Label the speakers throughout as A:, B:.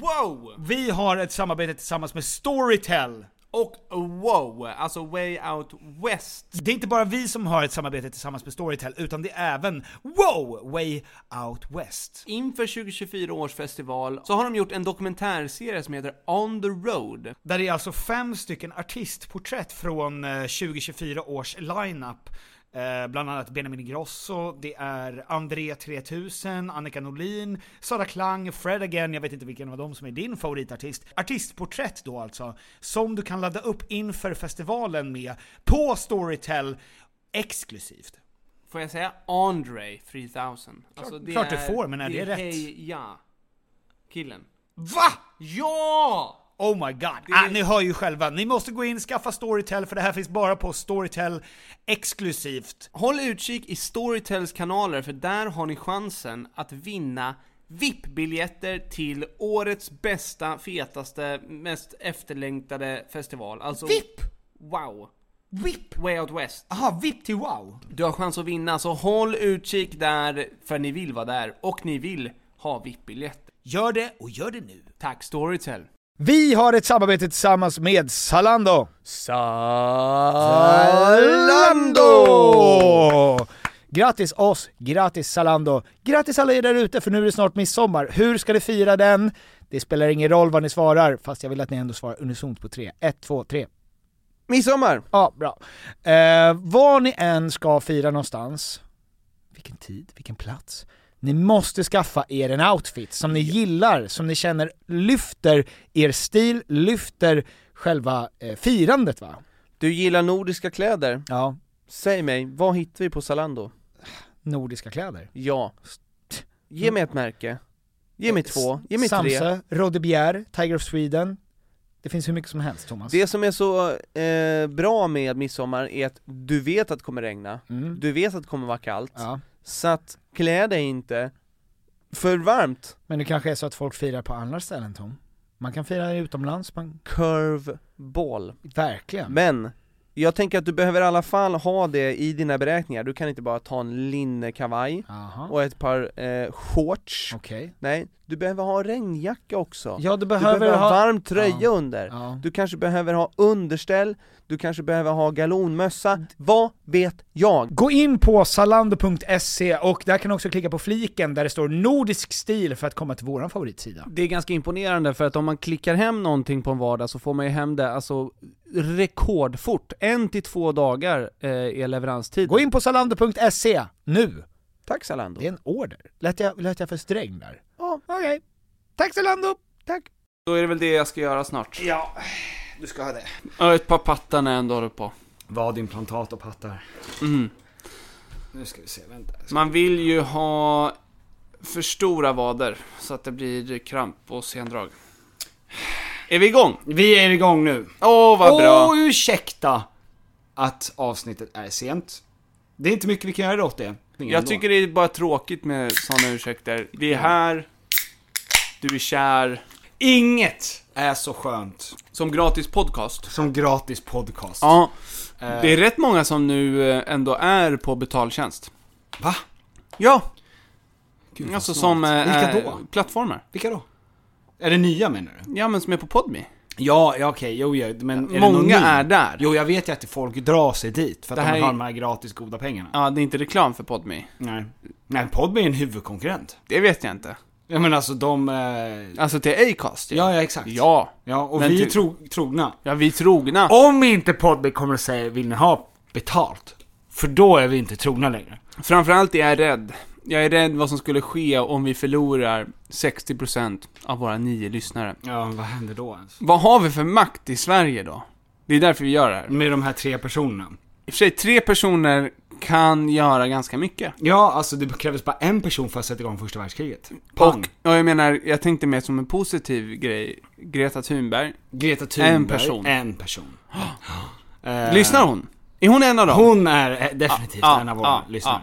A: Wow!
B: vi har ett samarbete tillsammans med Storytel.
A: Och wow, alltså Way Out West.
B: Det är inte bara vi som har ett samarbete tillsammans med Storytel, utan det är även Wow! Way Out West.
A: Inför 2024 års festival så har de gjort en dokumentärserie som heter On the Road.
B: Där det är alltså fem stycken artistporträtt från eh, 2024 års lineup. Eh, Bland annat Benjamin Ingrosso, det är André 3000, Annika Norlin, Sara Klang, Fred Again, jag vet inte vilken av dem som är din favoritartist. Artistporträtt då alltså, som du kan ladda upp inför festivalen med på Storytel exklusivt.
A: Får jag säga Andre 3000? Alltså, det
B: klart du får, men är det rätt?
A: ja killen.
B: VA?
A: Ja!
B: Oh my god! Ah, ni hör ju själva, ni måste gå in, skaffa Storytel för det här finns bara på Storytel exklusivt.
A: Håll utkik i Storytels kanaler för där har ni chansen att vinna VIP-biljetter till årets bästa, fetaste, mest efterlängtade festival. Alltså...
B: VIP?
A: Wow!
B: VIP!
A: Way Out West.
B: Aha, VIP till wow!
A: Du har chans att vinna, så håll utkik där, för ni vill vara där och ni vill ha VIP-biljetter.
B: Gör det, och gör det nu.
A: Tack Storytel!
C: Vi har ett samarbete tillsammans med Zalando. Zalando! Grattis oss, grattis Zalando, grattis alla er där ute för nu är det snart midsommar. Hur ska ni fira den? Det spelar ingen roll vad ni svarar, fast jag vill att ni ändå svarar unisont på tre. Ett, två, tre.
A: Midsommar!
C: Ja, bra. Eh, var ni än ska fira någonstans, vilken tid, vilken plats, ni måste skaffa er en outfit som ni gillar, som ni känner lyfter er stil, lyfter själva eh, firandet va?
A: Du gillar nordiska kläder?
C: Ja,
A: Säg mig, vad hittar vi på Zalando?
C: nordiska kläder.
A: Ja. Ge mig ett märke. Ge mig två, ge mig tre.
C: Samse, Rodde Bjerre, Tiger of Sweden. Det finns hur mycket som helst Thomas.
A: Det som är så eh, bra med midsommar är att du vet att det kommer regna,
C: Mm.
A: du vet att det kommer vara kallt,
C: Ja.
A: så att klä dig inte för varmt.
C: Men det kanske är så att folk firar på andra ställen Tom. Man kan fira utomlands, man...
A: Curveball.
C: Mm. verkligen.
A: Men, jag tänker att du behöver i alla fall ha det i dina beräkningar, du kan inte bara ta en linnekavaj
C: Aha.
A: och ett par eh, shorts
C: Okej.
A: Nej, du behöver ha regnjacka också.
C: Ja, du
A: du
C: behöver,
A: behöver ha
C: ha...
A: varm tröja
C: Ja.
A: under.
C: Ja.
A: Du kanske behöver ha underställ, du kanske behöver ha galonmössa, vad vet jag?
C: Gå in på salando.se och där kan du också klicka på fliken där det står nordisk stil för att komma till våran favoritsida.
D: Det är ganska imponerande för att om man klickar hem någonting på en vardag så får man ju hem det alltså rekordfort. En till två dagar eh, är leveranstiden.
C: Gå in på salando.se nu!
A: Tack Zalando.
C: Det är en order. Lät jag, lät jag för sträng där?
A: Ja.
C: Okej. Tack Zalando! Tack!
D: Då är det väl det jag ska göra snart.
B: Ja, du ska ha det.
D: Ja, ett par pattar när jag ändå håller på.
C: Vadimplantat och pattar.
D: Mm.
C: Nu ska vi se, vänta.
D: Man vill ju ha för stora vader så att det blir kramp och sendrag. Är vi igång?
C: Vi är igång nu.
D: Åh vad bra!
C: Och ursäkta att avsnittet är sent. Det är inte mycket vi kan göra åt det.
E: förhoppningen
A: Jag
E: då.
A: tycker det är bara tråkigt med sådana ursäkter. Vi är här, du är kär,
B: Inget är så skönt
A: som gratis podcast.
B: som gratis podcast.
A: Ja,
B: Eh,
A: det är rätt många som nu eh, ändå är på betaltjänst.
B: Va?
A: Ja,
B: Gud, vad
A: alltså
B: snålt.
A: som eh,
B: Vilka
A: eh,
B: då?
A: plattformar.
B: Vilka då? Är det nya menar du?
A: Ja, men som är på Podme.
B: Ja, ja okej, jo, ja, men är det någon ny?
A: Många är där.
B: Jo, jag vet ju att folk drar sig dit för att
A: Det
B: de
A: här
B: har
A: är-
B: de här gratis goda pengarna.
A: Ja, det är inte reklam för Podme.
B: Nej. Nej, Podme är en huvudkonkurrent.
A: Det vet jag inte.
B: Ja men alltså de... Eh...
A: Alltså till Acast ju.
B: Ja, ja exakt.
A: Ja.
B: Ja, typ- och
A: Men
B: vi är
A: ty-
B: tro, trogna.
A: Ja, vi är trogna.
B: Om inte Podme kommer att säga vill ni ha betalt? För då är vi inte trogna längre.
A: Framförallt är jag rädd. Jag är rädd vad som skulle ske om vi förlorar 60% av våra nio lyssnare.
B: Ja, vad händer då ens?
A: Vad har vi för makt i Sverige då? Det är därför vi gör det här. I
B: Med de här tre personerna.
A: och för sig, tre personer kan göra ganska mycket.
B: Ja, alltså det krävdes bara en person för att sätta igång första världskriget. Pang!
A: Och, och jag menar, jag tänkte mer som en positiv grej. Greta Thunberg.
B: Greta Thunberg.
A: en person.
B: En person. Eh,
A: Lyssnar hon? Är hon en av dem?
B: Hon är eh, definitivt
A: Ja,
B: en av våra
A: ja,
B: lyssnare.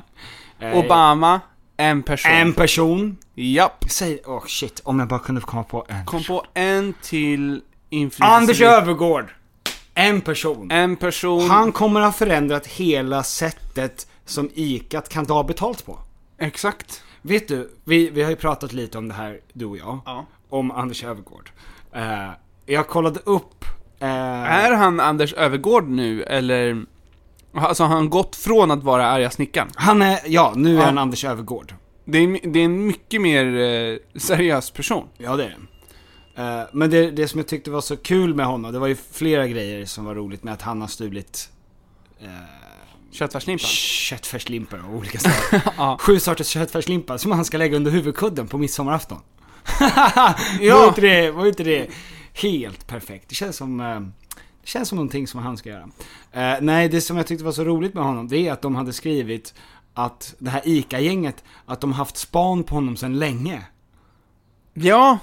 B: Eh,
A: Obama, en person.
B: En person.
A: Japp.
B: Säg, åh shit, om jag bara kunde komma på en.
A: Kom på en till influencer.
B: Anders Övergård. En person.
A: En person.
B: Han kommer ha förändrat hela sättet som ICA kan ta betalt på.
A: Exakt.
B: Vet du, vi, vi har ju pratat lite om det här, du och jag. Om Anders Övergård. Eh, jag kollade upp... eh,
A: Är han Anders Övergård nu, eller? Alltså har han gått från att vara arga snickaren?
B: han är, ja, nu är han Anders Övergård.
A: Det är, my- det är en mycket mer eh, seriös person.
B: Ja, det är det. Eh, men det, det som jag tyckte var så kul med honom, det var ju flera grejer som var roligt med att han har stulit eh,
A: Köttfärslimpan.
B: köttfärslimpor av olika slag. Sju sorters köttfärslimpa som han ska lägga under huvudkudden på midsommarafton. ja. Var inte det, var inte det helt perfekt? Det känns som, eh, det känns som någonting som han ska göra. Eh, nej, det som jag tyckte var så roligt med honom, det är att de hade skrivit att det här ICA-gänget, att de haft span på honom sedan länge.
A: Ja,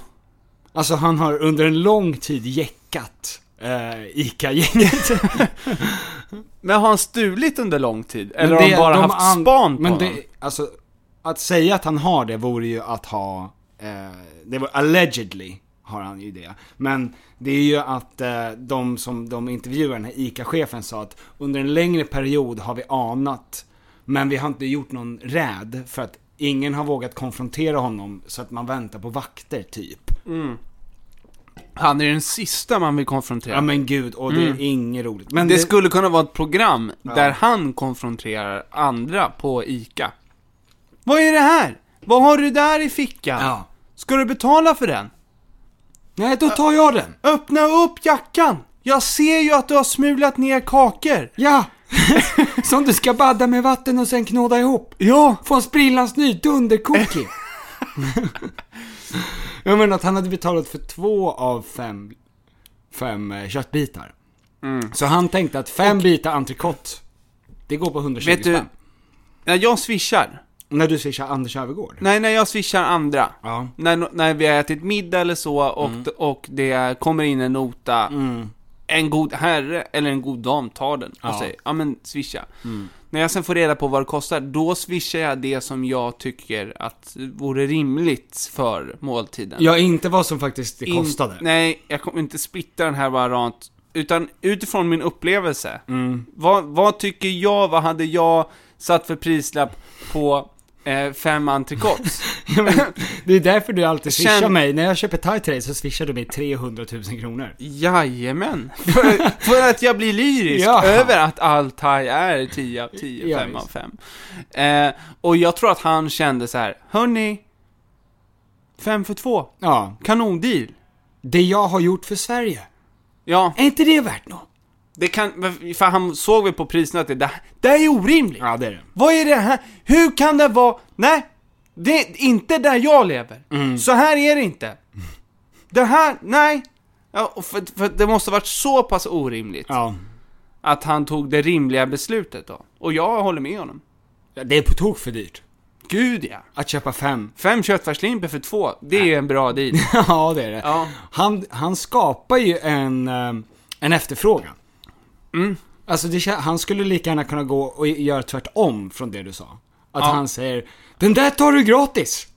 B: Alltså han har under en lång tid jäckat eh, ICA-gänget.
A: men har han stulit under lång tid? Eller
B: Men
A: har
B: det-
A: han bara
B: de
A: haft
B: an-
A: span på
B: men
A: honom?
B: det, alltså, att säga att han har det vore ju att ha, eh, det var allegedly har han ju det. Men det är ju att eh, de som de intervjuar, den här ICA-chefen sa att under en längre period har vi anat, men vi har inte gjort någon räd för att ingen har vågat konfrontera honom så att man väntar på vakter typ.
A: Han är den sista man vill konfrontera.
B: Ja men gud, och det är inget roligt. Men
A: Mm. det, skulle kunna vara ett program där han konfronterar andra på ICA. Vad är det här? Vad har du där i fickan?
B: Ja.
A: Ska du betala för den?
B: Nej, då tar jag den!
A: Öppna upp jackan! Jag ser ju att du har smulat ner kakor.
B: Ja! Som du ska badda med vatten och sen knåda ihop.
A: Ja!
B: Få en sprillans ny dundercookie. jag menar att han hade betalat för två av fem, fem eh, köttbitar. Så han tänkte att fem bitar entrecote, det går på 120
A: Vet du,
B: spänn.
A: när jag swishar,
B: När du swishar Anders Övergård.
A: nej när jag swishar andra,
B: Ja. Mm.
A: när, no- när vi har ätit middag eller så och, d- och det kommer in en nota, en god herre eller en god dam tar den och säger ja men swisha.
B: Mm.
A: När jag sen får reda på vad det kostar, då swishar jag det som jag tycker att vore rimligt för måltiden.
B: Ja, inte vad som faktiskt det
A: In-
B: kostade.
A: Nej, jag kommer inte splitta den här varant. Utan utifrån min upplevelse.
B: Mm.
A: Vad, vad tycker jag, vad hade jag satt för prislapp på eh, fem entrecotes?
B: Ja, men det är därför du alltid swishar
A: Känn-
B: mig. När jag köper Thai Trade så swishar du mig 300 000 kronor.
A: Jajamän! För, för att jag blir lyrisk
B: Ja.
A: över att all thai är 10 av 10,
B: Ja,
A: 5 av
B: visst.
A: 5. Eh, och jag tror att han kände så här, hörni, 5 för 2,
B: Ja.
A: kanondeal.
B: Det jag har gjort för Sverige,
A: Ja,
B: är inte det värt något?
A: det kan, för han såg väl på priserna att det, det, det här är orimligt.
B: Ja, det är det.
A: Vad är det här? Hur kan det vara? Nej! Det är inte där jag lever.
B: Mm.
A: Så här är det inte. Det här, nej. Ja, och för, för det måste ha varit så pass orimligt
B: Ja.
A: att han tog det rimliga beslutet då. Och jag håller med honom.
B: Det är på tok för dyrt.
A: Gud ja.
B: Att köpa fem
A: Fem köttfärslimpor för två, det är en bra deal.
B: Ja, det är det.
A: Ja.
B: Han, han skapar ju en, eh, en efterfrågan.
A: Mm.
B: Alltså, det, kän- han skulle lika gärna kunna gå och göra tvärtom från det du sa. Att han säger Den där tar du gratis!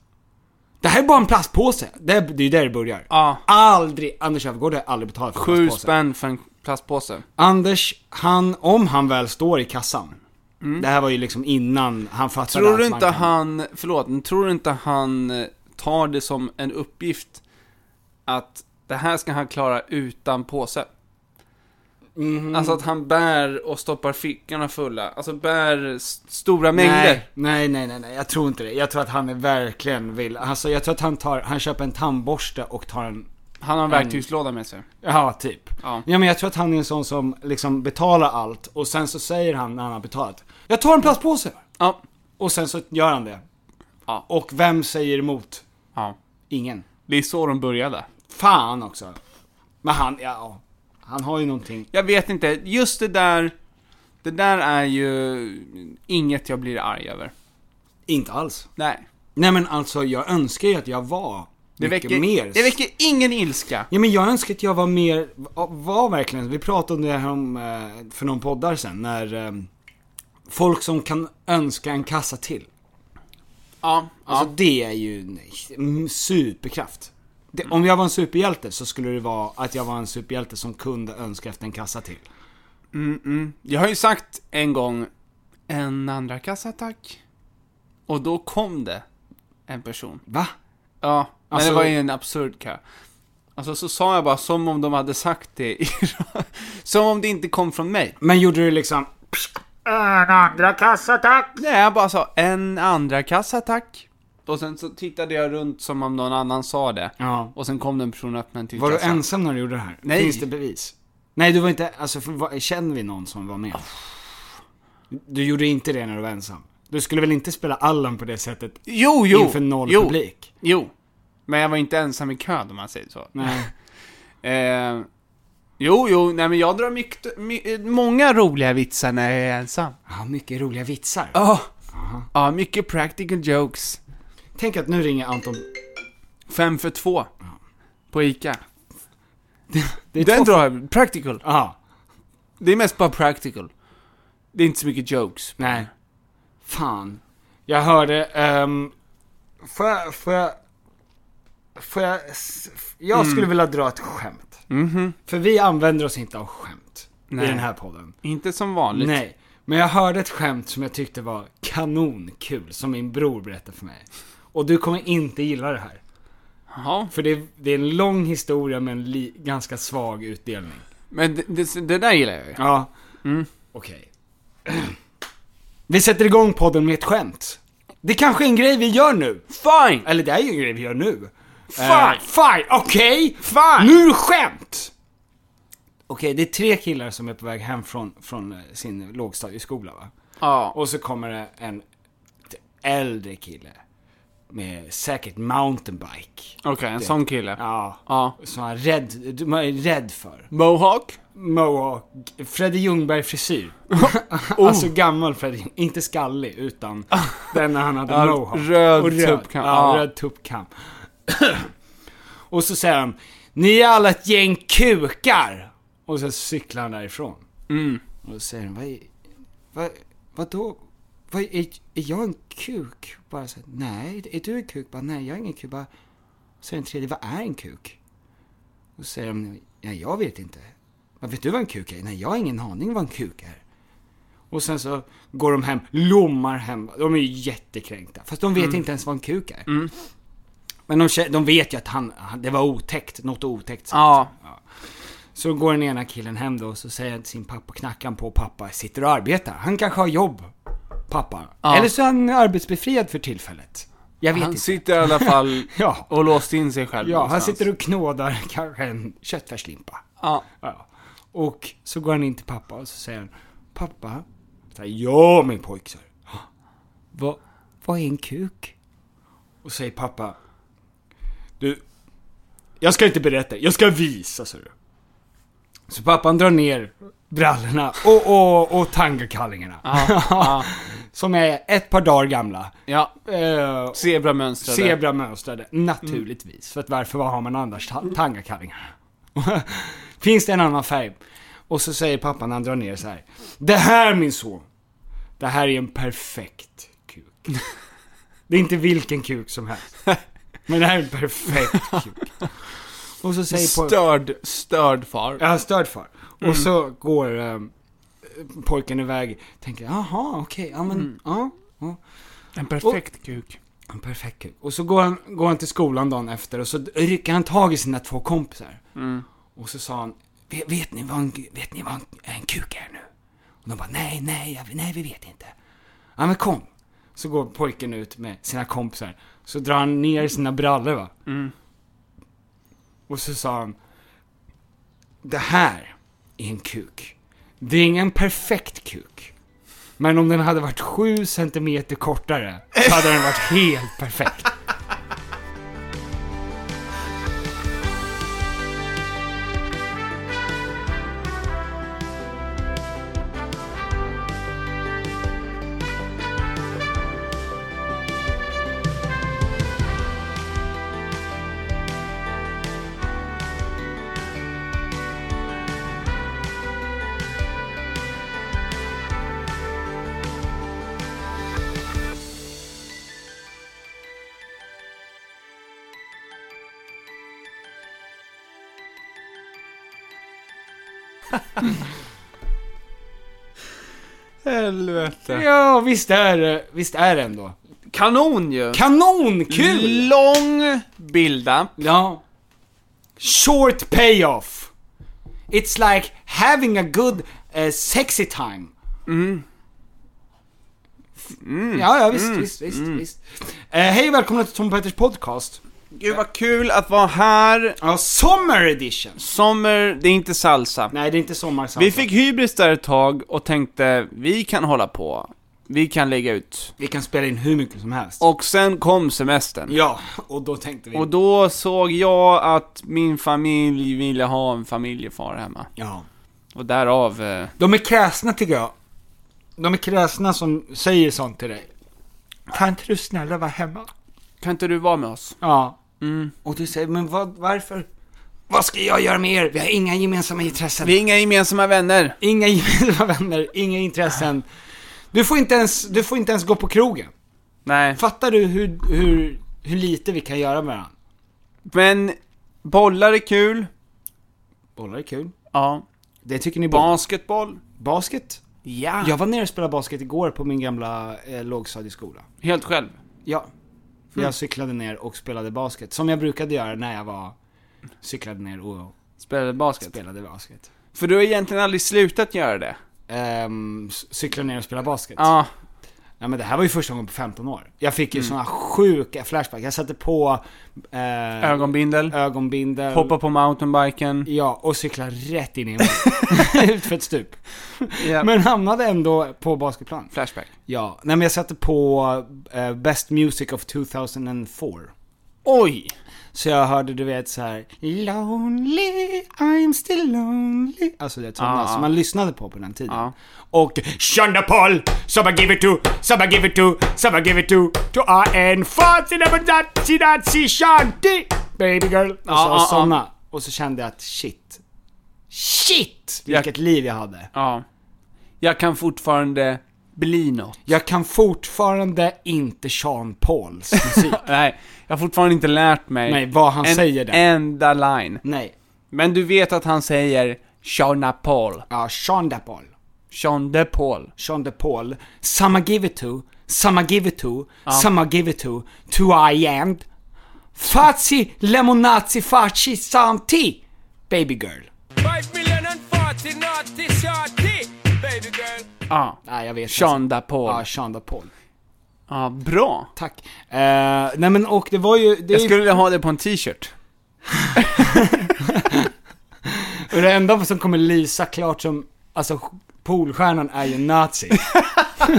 B: Det här är bara en plastpåse. Det, är- det är där det börjar.
A: Ja.
B: Aldrig, Anders Öfvergård har aldrig betalat för en
A: Sju
B: plastpåse.
A: spänn för en plastpåse.
B: Anders, han, om han väl står i kassan. Det här var ju liksom innan han fattade
A: Mm. Tror
B: att
A: du
B: man
A: inte
B: kan-
A: han, förlåt, men tror du inte han eh, tar det som en uppgift att det här ska han klara utan påse? Alltså att han bär och stoppar fickorna fulla, alltså bär s- stora mängder.
B: Nej, nej, nej, nej, nej, jag tror inte det. Jag tror att han är verkligen vill, alltså jag tror att han tar, han köper en tandborste och tar en,
A: Han har en verktygslåda med sig.
B: ja typ.
A: Ja.
B: Ja men jag tror att han är en sån som liksom betalar allt och sen så säger han när han har betalat, jag tar en plastpåse!
A: Ja.
B: Och sen så gör han det.
A: Ja.
B: Och vem säger emot?
A: ja.
B: Ingen.
A: Det är så de började.
B: Fan också. Men han, ja, han har ju någonting.
A: Jag vet inte, just det där, det där är ju inget jag blir arg över.
B: Inte alls.
A: Nej.
B: Nej men alltså jag önskar ju att jag var
A: Det
B: mycket
A: väcker,
B: mer.
A: det väcker ingen ilska.
B: Ja men jag önskar att jag var mer, var verkligen, vi pratade om det här om, eh, för någon poddar sen, när eh, folk som kan önska en kassa till.
A: Ja,
B: Alltså
A: ja.
B: det är ju en mm, superkraft. Det, om jag var en superhjälte så skulle det vara att jag var en superhjälte som kunde önska efter en kassa till.
A: Jag har ju sagt en gång, en andra kassa tack. Och då kom det en person.
B: Va?
A: Ja, men
B: Alltså-
A: det var ju en absurd kö. Alltså så sa jag bara som om de hade sagt det i Som om det inte kom från mig.
B: Men gjorde du liksom,
A: Nej, jag bara sa en andra kassa tack. Och sen så tittade jag runt som om någon annan sa det.
B: Ja.
A: Och sen kom den personen och öppnade en till
B: var du
A: kassa.
B: ensam när du gjorde det här?
A: Nej.
B: Finns det bevis? Nej du var inte, alltså för, vad- känner vi någon som var med? Du gjorde inte det när du var ensam? Du skulle väl inte spela Allan på det sättet
A: Jo, jo!
B: inför noll
A: jo,
B: publik.
A: Jo. Men jag var inte ensam i kön om man säger så.
B: Nej.
A: Eh, jo, jo, nej men jag drar mycket, my, många roliga vitsar när jag är ensam.
B: Ja, mycket roliga vitsar.
A: Ja, Ja, mycket practical jokes.
B: Tänk att nu ringer Anton.
A: Fem för två. På ICA.
B: Det är
A: Den
B: två-
A: drar jag, practical.
B: Aha.
A: Det är mest bara practical. Det är inte så mycket jokes.
B: Nej. Fan. Jag hörde, ehm... får jag, får jag, får jag, s- f- jag skulle vilja dra ett skämt. För vi använder oss inte av skämt i
A: Nej.
B: den här podden.
A: Inte som vanligt.
B: Nej, men jag hörde ett skämt som jag tyckte var kanonkul, som min bror berättade för mig. Och du kommer inte gilla det här.
A: Jaha.
B: För det, det är en lång historia med en li, ganska svag utdelning.
A: Men det, det, det där gillar jag ju.
B: Ja. Okej. Vi sätter igång podden med ett skämt. Det kanske är en grej vi gör nu.
A: Fine!
B: Eller det är ju en grej vi gör nu.
A: Fine!
B: Eh, fine, okej!
A: Fine!
B: Nu är det skämt! Okej, det är tre killar som är på väg hem från, från eh, sin lågstadieskola va?
A: Ja.
B: Och så kommer det en äldre kille. Med säkert mountainbike.
A: Okej, en sån kille.
B: Ja.
A: Ja.
B: Som han är rädd, man är rädd för.
A: Mohawk?
B: Mohawk. Freddy Ljungberg frisyr.
A: Oh.
B: Alltså gammal Freddy Ljung- Inte skallig, utan den när han hade
A: Ja,
B: mohawk.
A: röd
B: Och
A: tuppkam.
B: Ja,
A: Ja.
B: röd tuppkam. och så säger han, ni är alla ett gäng kukar. Och så cyklar han därifrån.
A: Mm.
B: Och så säger han, vad, är- vad, vadå? Vad, är, är jag en kuk? Bara så, här, nej, är du en kuk? Bara, nej, jag är ingen kuk. Bara, så säger den tredje, vad är en kuk? Och så säger de, nej jag vet inte. Vad vet du vad en kuk är? Nej, jag har ingen aning vad en kuk är. Och sen så går de hem, lommar hem. De är ju jättekränkta. Fast de
A: Mm.
B: vet inte ens vad en kuk är. Men de, kä- de vet ju att han, han, det var otäckt, något otäckt sagt.
A: Ja.
B: Så går den ena killen hem då och så säger han till sin pappa, knackar han på pappa, sitter och arbetar. Han kanske har jobb, pappa. Eller så är han arbetsbefriad för tillfället. Jag vet
A: Han
B: inte.
A: sitter i alla fall
B: Ja.
A: och låst in sig själv
B: Ja, han
A: någonstans.
B: sitter och knådar kanske en köttfärslimpa.
A: Ja.
B: Ja. Och så går han in till pappa och så säger han, pappa. Så här, ja min pojk, så här, "Ja, vad, vad är en kuk? Och säger pappa, du, jag ska inte berätta, jag ska visa, så du. Så pappan drar ner brallorna och, och, och tangokallingarna. Som är ett par dagar gamla.
A: Ja.
B: Eh,
A: Zebramönstrade.
B: Zebramönstrade, naturligtvis. För att varför vad har man annars ta- tangakallingar? Finns det en annan färg? Och så säger pappan när han drar ner så här. Det här min son, det här är en perfekt kuk. Det är inte vilken kuk som helst. Men det här är en perfekt kuk. Och så säger pojken...
A: Störd, störd far.
B: Ja, störd far. Och så går um, pojken iväg. Tänker, jaha, okej, ja men, ja. ja.
A: En perfekt kuk.
B: En perfekt kuk. Och så går han, går han till skolan dagen efter och så rycker han tag i sina två kompisar. Och så sa han, "Ve- vet ni vad en, vet ni vad en, en kuk är nu? Och de bara, nej, nej, jag, nej, vi vet inte. Ja men kom. Så går pojken ut med sina kompisar. Så drar han ner sina brallor va. Och så sa han, det här är en kuk. Det är ingen perfekt kuk. Men om den hade varit 7 centimeter kortare så hade den varit helt perfekt.
A: Helvete.
B: Ja, visst är det, visst är det ändå.
A: Kanon ju!
B: Kanonkul!
A: Lång bilda.
B: Ja. Short payoff. It's like having a good eh, sexy time. Mm. Ja, ja visst, visst, visst,
A: Mm.
B: visst. Eh, hej och välkomna till Tom Petters podcast.
A: Gud vad kul att vara här.
B: Ja, Summer edition.
A: Sommar, det är inte salsa.
B: Nej, det är inte sommarsamtal.
A: Vi fick hybris där ett tag och tänkte, vi kan hålla på. Vi kan lägga ut.
B: Vi kan spela in hur mycket som helst.
A: Och sen kom semestern.
B: ja, och då tänkte vi...
A: Och då såg jag att min familj ville ha en familjefar hemma.
B: ja.
A: Och därav... Eh,
B: De är kräsna tycker jag. De är kräsna som säger sånt till dig. Kan inte du snälla vara hemma? Mm.
A: kan inte du vara med oss?
B: Ja. Och du säger, men vad, varför? Vad ska jag göra med er? Vi har inga gemensamma intressen.
A: Vi är inga gemensamma vänner.
B: Inga gemensamma vänner, inga intressen. Du får inte ens, du får inte ens gå på krogen.
A: Nej.
B: Fattar du hur, hur, hur lite vi kan göra med varandra?
A: Men bollar är kul.
B: Bollar är kul.
A: Ja.
B: Det tycker ni bra.
A: Basketboll.
B: Basket?
A: Ja.
B: Jag var nere och spelade basket igår på min gamla eh, lågstadieskola.
A: Helt själv.
B: Ja. Jag cyklade ner och spelade basket, som jag brukade göra när jag var... Cyklade ner och
A: Spelade basket.
B: spelade basket.
A: För du har egentligen aldrig slutat göra det.
B: Ehm, c- cyklade ner och spelade basket.
A: Ja.
B: Ja, men det här var ju första gången på 15 år. Jag fick ju såna sjuka flashbacks. Jag satte på... Eh,
A: Ögonbindel.
B: ögonbindel.
A: Hoppa på mountainbiken.
B: Ja, och cyklade rätt in i en vägg. Ut för ett stup.
A: Ja.
B: Men hamnade ändå på basketplan.
A: Flashback.
B: Ja, nej men jag satte på eh, Best Music of 2004.
A: Oj!
B: Så jag hörde du vet så här Lonely, I'm still lonely Alltså det är sådana
A: Ah.
B: som man lyssnade på på den tiden
A: Ja.
B: Och Shonda Paul, some I give it to, some I give it to, some I give it to To I and fancy never that, see that, see shanty Baby girl Alltså
A: ah,
B: och
A: ah.
B: sådana Och så kände jag att shit Shit! Vilket liv jag hade
A: Ja. Jag kan fortfarande bli något.
B: Jag kan fortfarande inte Sean Pauls musik
A: Nej, jag har fortfarande inte lärt mig
B: Nej, vad han
A: en
B: säger där.
A: enda line.
B: Nej,
A: Men du vet att han säger Sean Paul.
B: ja Shonda Paul
A: Sean de Paul.
B: Sean DePaul, Some I give it to, Some I give it to, Some I give it to, To I end. Fazzi, lemonazzi, facci, santi, baby girl.
A: Ja.
B: Nej, jag vet
A: Sean
B: inte.
A: de Paul.
B: Ja,
A: Ja,
B: Sean DePaul.
A: bra.
B: Tack. Eh, nej men och det var ju, det, är
A: Jag
B: ju-
A: skulle vilja ha det på en t-shirt.
B: och det enda som kommer lysa klart som, alltså Polstjärnan är ju nazi.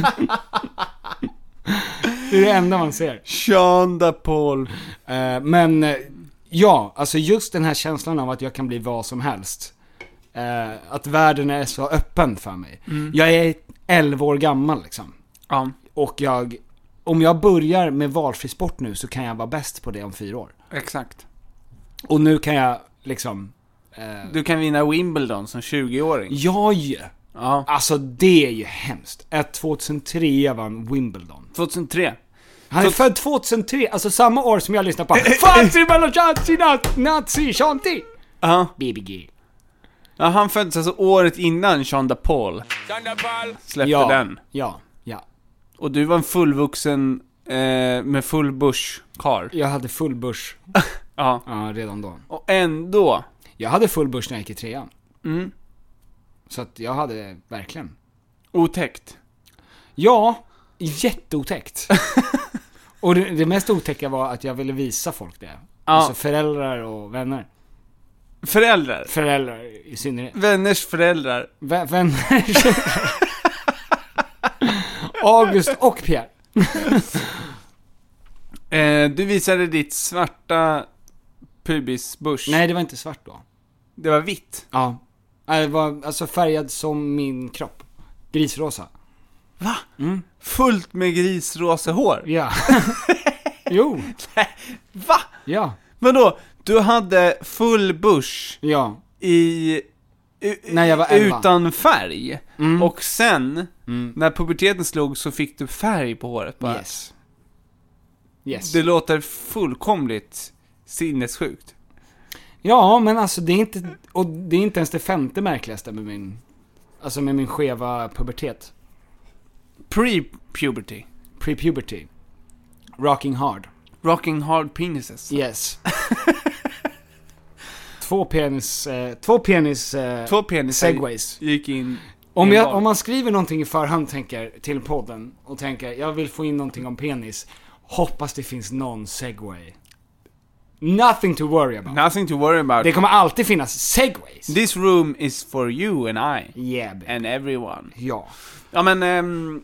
B: det är det enda man ser.
A: Sean de Paul.
B: Eh, men eh, ja, alltså just den här känslan av att jag kan bli vad som helst. Eh, att världen är så öppen för mig.
A: Mm.
B: Jag är 11 år gammal liksom.
A: Ja.
B: Och jag, om jag börjar med valfri sport nu så kan jag vara bäst på det om fyra år.
A: Exakt.
B: Och nu kan jag liksom,
A: Eh. Du kan vinna Wimbledon som 20-åring.
B: jag
D: Ja.
B: Alltså det är ju hemskt. Att 2003 vann Wimbledon.
A: 2003.
B: Han är född 2003, alltså samma år som jag lyssnade på Fancy Malachanzi Nazi Shanti!
A: Ja.
B: BBG.
A: ja, han föddes alltså året innan Sean da Paul släppte
B: Ja,
A: den.
B: ja, ja.
A: Och du var en fullvuxen eh, med full bush karl.
B: Jag hade full börs.
A: Ja.
B: Ja, redan då.
A: Och ändå.
B: Jag hade full börs när jag gick i trean.
A: Mm.
B: Så att jag hade verkligen.
A: Otäckt.
B: Ja, jätteotäckt. och det, det mest otäcka var att jag ville visa folk det. Alltså föräldrar och vänner.
A: Föräldrar.
B: Föräldrar i synnerhet.
A: Vänners föräldrar.
B: Vä- vänner. August och Pierre.
A: Eh, du visade ditt svarta pubisbush.
B: Nej, det var inte svart då.
A: Det var vitt.
B: Ja. Nej, Det var alltså färgad som min kropp. Grisrosa.
A: Fullt med grisrosa hår.
B: Mm. Ja. jo.
A: Va?
B: Ja.
A: Vadå? Du hade full bush
B: Ja.
A: i... u-
B: När jag var elva. Mm.
A: utan färg. Och sen, när puberteten slog så fick du färg på håret bara.
B: Yes. Yes.
A: Det låter fullkomligt sinnessjukt.
B: Ja, men alltså det är inte, och det är inte ens det femte märkligaste med min, alltså med min skeva pubertet.
A: Pre-puberty.
B: Pre-puberty. Rocking hard.
A: Rocking hard penises.
B: Yes. två penis, eh, två penis, eh,
A: Två penisar
B: segways.
A: gick in
B: Om,
A: i en
B: jag,
A: bar.
B: om man skriver någonting i förhand tänker, till podden och tänker jag vill få in någonting om penis, hoppas det finns någon segway. Nothing to worry about.
A: Nothing to worry about.
B: Det kommer alltid finnas segways.
A: This room is for you and I.
B: Yeah, baby.
A: And everyone.
B: ja.
A: Ja men, ehm,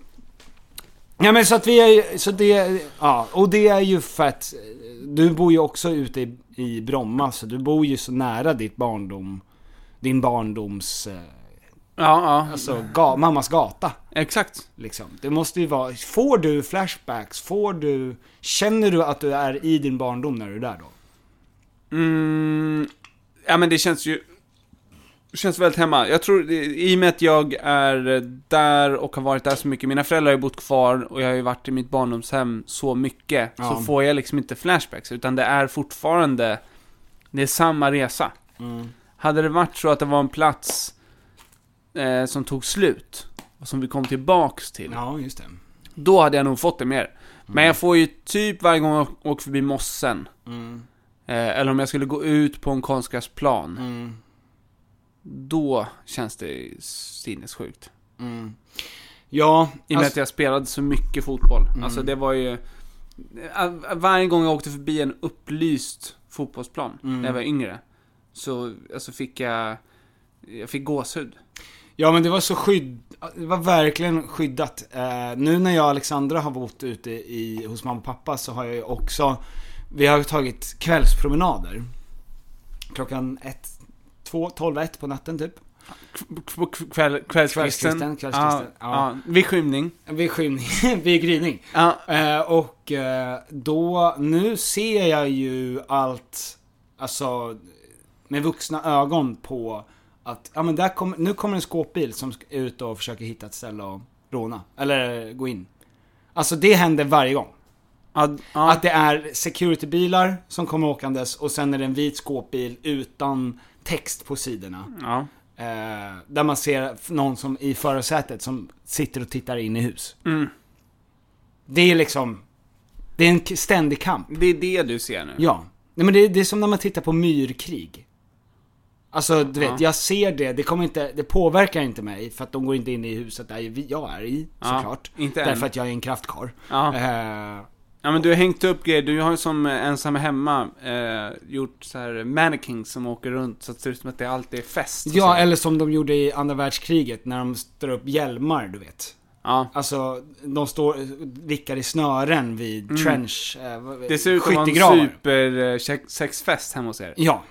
B: Ja men så att vi är ju- så det, ja, och det är ju för att eh, du bor ju också ute i, i Bromma så du bor ju så nära ditt barndom, din barndoms, eh,
A: ja ja.
B: alltså ga, mammas gata
A: Exakt.
B: liksom. Det måste ju vara, får du flashbacks, får du, känner du att du är i din barndom när du är där då?
A: Mm, ja men det känns ju... det Känns väldigt hemma. Jag tror, det- i och med att jag är där och har varit där så mycket, mina föräldrar har ju bott kvar och jag har ju varit i mitt barndomshem så mycket, så
B: Ja.
A: får jag liksom inte flashbacks, utan det är fortfarande, det är samma resa.
B: Mm.
A: Hade det varit så att det var en plats eh, som tog slut, och som vi kom tillbaks till,
B: Ja, Mm. just det.
A: Då hade jag nog fått det mer. Men jag får ju typ varje gång jag å- åker förbi mossen.
B: Mm,
A: Eh, eller om jag skulle gå ut på en konstgräsplan.
B: mm,
A: Då känns det sinnessjukt.
B: mm. Ja,
A: I och med att jag spelade så mycket fotboll. Alltså det var ju... eh, Varje gång jag åkte förbi en upplyst fotbollsplan när jag var yngre. Så alltså fick jag... Jag fick gåshud.
B: Ja men det var så skydd, det var verkligen skyddat. Eh, nu när jag och Alexandra har bott ute i, hos mamma och pappa så har jag ju också, vi har ju tagit kvällspromenader. Klockan ett, två, tolv, ett på natten typ.
A: På k- kväll, kvällskvisten.
B: Kvällskvisten, kvällskvisten,
A: Ja,
B: ja.
A: ja. Vid skymning.
B: Vid skymning, vid gryning.
A: Ja.
B: Eh, och eh, då, nu ser jag ju allt, alltså med vuxna ögon på att, ja men där kommer, nu kommer en skåpbil som ska ut och försöker hitta ett ställe och råna, eller gå in. Alltså det händer varje gång.
A: Ja, ja.
B: Att det är securitybilar som kommer åkandes och sen är det en vit skåpbil utan text på sidorna.
A: ja.
B: Eh, där man ser f- någon som i förarsätet som sitter och tittar in i hus.
A: Mm.
B: Det är liksom, det är en k- ständig kamp.
A: Det är det du ser nu.
B: Ja. Nej men det, det är som när man tittar på myrkrig. Alltså du vet, jag ser det, det kommer inte, det påverkar inte mig för att de går inte in i huset där vi- jag är i såklart.
A: inte än.
B: Därför att jag är en kraftkarl.
A: Ja.
B: Eh,
A: Ja men du har hängt upp grejer, du har ju som eh, ensam hemma eh, gjort så här mannequins som åker runt så att det ser ut som att det alltid är fest. och så.
B: ja, eller som de gjorde i andra världskriget när de drar upp hjälmar, du vet.
A: ja.
B: Alltså, de står, vickar i snören vid trench... Eh, vad-
A: Mm. Det ser ut som en
B: skyttegravar.
A: supersexfest hemma hos er.
B: Ja,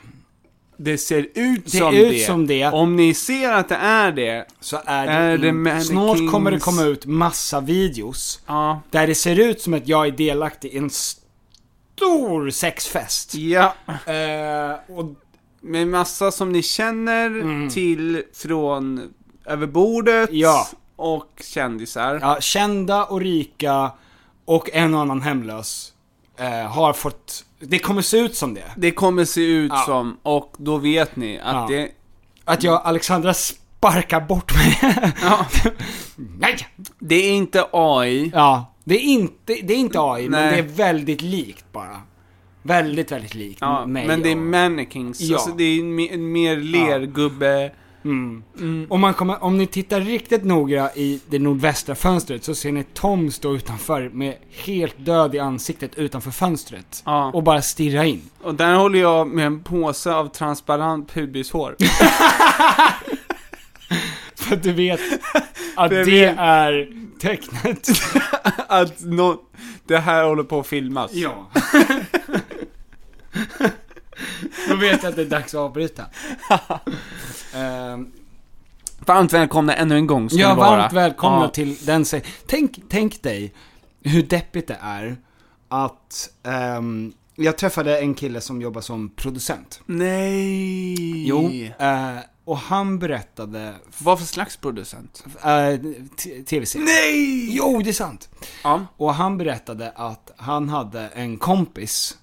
A: Det ser ut
B: Det
A: som
B: ser ut
A: det.
B: som det.
A: Om ni ser att det är det,
B: så är det,
A: Är det
B: in-
A: mannequins?
B: Snart kommer det komma ut massa videos.
A: ja.
B: Där det ser ut som att jag är delaktig i en stor sexfest.
A: Ja.
B: Eh, och
A: Med massa som ni känner till från över bordet
B: Mm. Ja.
A: och kändisar.
B: Ja, kända och rika och en och annan hemlös eh, har fått... Det kommer se ut som det.
A: Det kommer se ut
B: Ja.
A: som, och då vet ni att
B: Ja.
A: det...
B: Att jag, Alexandra, sparkar bort mig.
A: Ja,
B: Nej!
A: det är inte AI.
B: Ja, det är inte, det är inte AI, men
A: Nej.
B: det är väldigt likt bara. Väldigt, väldigt likt
A: Ja,
B: mig.
A: men det är
B: och-
A: mannequins.
B: Ja.
A: Alltså det är me- mer lergubbe...
B: Om, man kommer, om ni tittar riktigt noga i det nordvästra fönstret så ser ni Tom stå utanför med helt död i ansiktet utanför fönstret.
A: Ja.
B: Och bara stirra in.
A: Och där håller jag med en påse av transparent pubishår.
B: För att du vet att
A: Jag
B: det
A: vet.
B: är tecknet.
A: att nå, det här håller på att filmas.
B: Ja. Då vet jag att det är dags att avbryta. Ehm,
A: Varmt välkomna ännu en gång ska
B: ja,
A: ni vara.
B: varmt välkomna
A: Ja.
B: till den se- tänk, tänk dig hur deppigt det är att ehm, jag träffade en kille som jobbar som producent.
A: Nej!
B: Eh, och han berättade
A: Vad för slags producent?
B: eh, t- tv-serien.
A: Nej!
B: Jo, det är sant.
A: Ja.
B: Och han berättade att han hade en kompis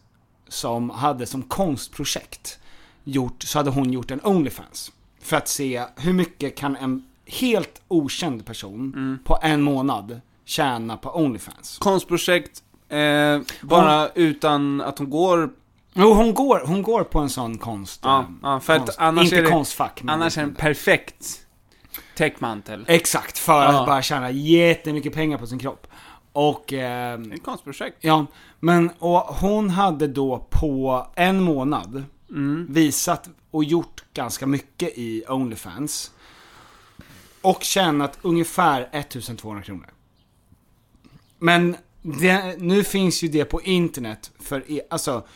B: som hade som konstprojekt gjort, så hade hon gjort en Onlyfans. För att se hur mycket kan en helt okänd person
A: Mm.
B: på en månad tjäna på Onlyfans.
A: Konstprojekt, eh, bara utan att hon går...
B: Jo, hon går, hon går på en sån konst...
A: Ja,
B: eh,
A: ja för att
B: konst,
A: annars
B: inte
A: är det...
B: konstfack. men
A: Annars är det en perfekt täckmantel.
B: Exakt, för
A: Ja.
B: att bara tjäna jättemycket pengar på sin kropp. Och... ehm,
A: Ett konstprojekt.
B: Ja, men och hon hade då på en månad visat och gjort ganska mycket i Onlyfans. Och tjänat ungefär 1200 kronor. Men det, nu finns ju det på internet för er, alltså.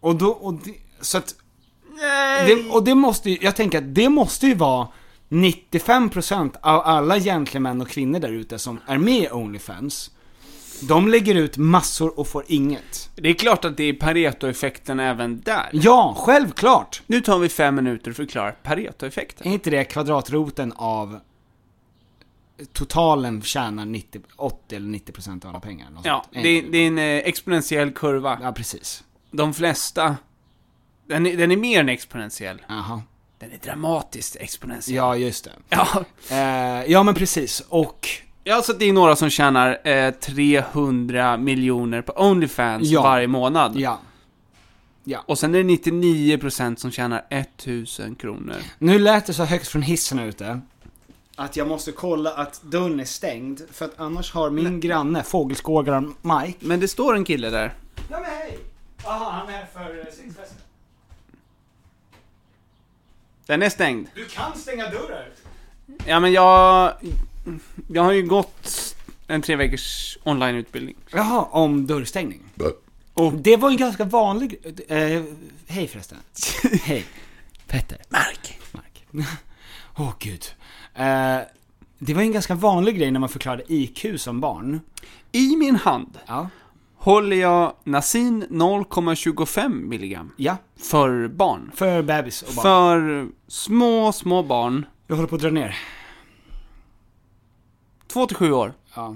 B: Och då, och det, så att. Det, och det måste ju, jag tänker att det måste ju vara 95% av alla gentlemän och kvinnor där ute som är med i Onlyfans. De lägger ut massor och får inget.
A: Det är klart att det är Pareto-effekten även där.
B: Ja, självklart!
A: Nu tar vi fem minuter för att förklara Pareto-effekten.
B: Är inte det kvadratroten av totalen tjänar 90, 80 eller 90 procent av alla pengar? eller något
A: Ja,
B: sånt? Är
A: det,
B: inte
A: det är en eh, exponentiell kurva.
B: Ja, precis.
A: De flesta... Den är, den är mer än exponentiell.
B: Aha.
A: Den är dramatiskt exponentiell.
B: Ja, just det.
A: Ja.
B: Eh, ja, men precis. Och...
A: Ja, så det är några som tjänar eh, 300 miljoner på Onlyfans
B: Ja.
A: varje månad.
B: Ja.
A: Och sen är det 99% som tjänar 1000 kronor.
B: Nu lät det så högt från hissen här ute. Att jag måste kolla att dörren är stängd, för att annars har min granne, fågelskågaren Mike...
A: Men det står en kille där.
B: Ja, men hej! Jaha, han är för eh, sexfesten.
A: Den är stängd.
B: Du kan stänga dörrar!
A: Ja, men jag... Jag har ju gått en tre veckors onlineutbildning.
B: Jaha, om dörrstängning. Och det var en ganska vanlig... Eh, hej förresten. hej. Petter. Mark. Mark. Åh gud. Eh, det var en ganska vanlig grej när man förklarade IQ som barn.
A: I min hand
B: Ja.
A: håller jag Nasin 0,25 milligram
B: Ja,
A: för barn.
B: för bebis och barn.
A: För små, små barn.
B: Jag håller på att dra ner.
A: 2 till 7 år.
B: Ja.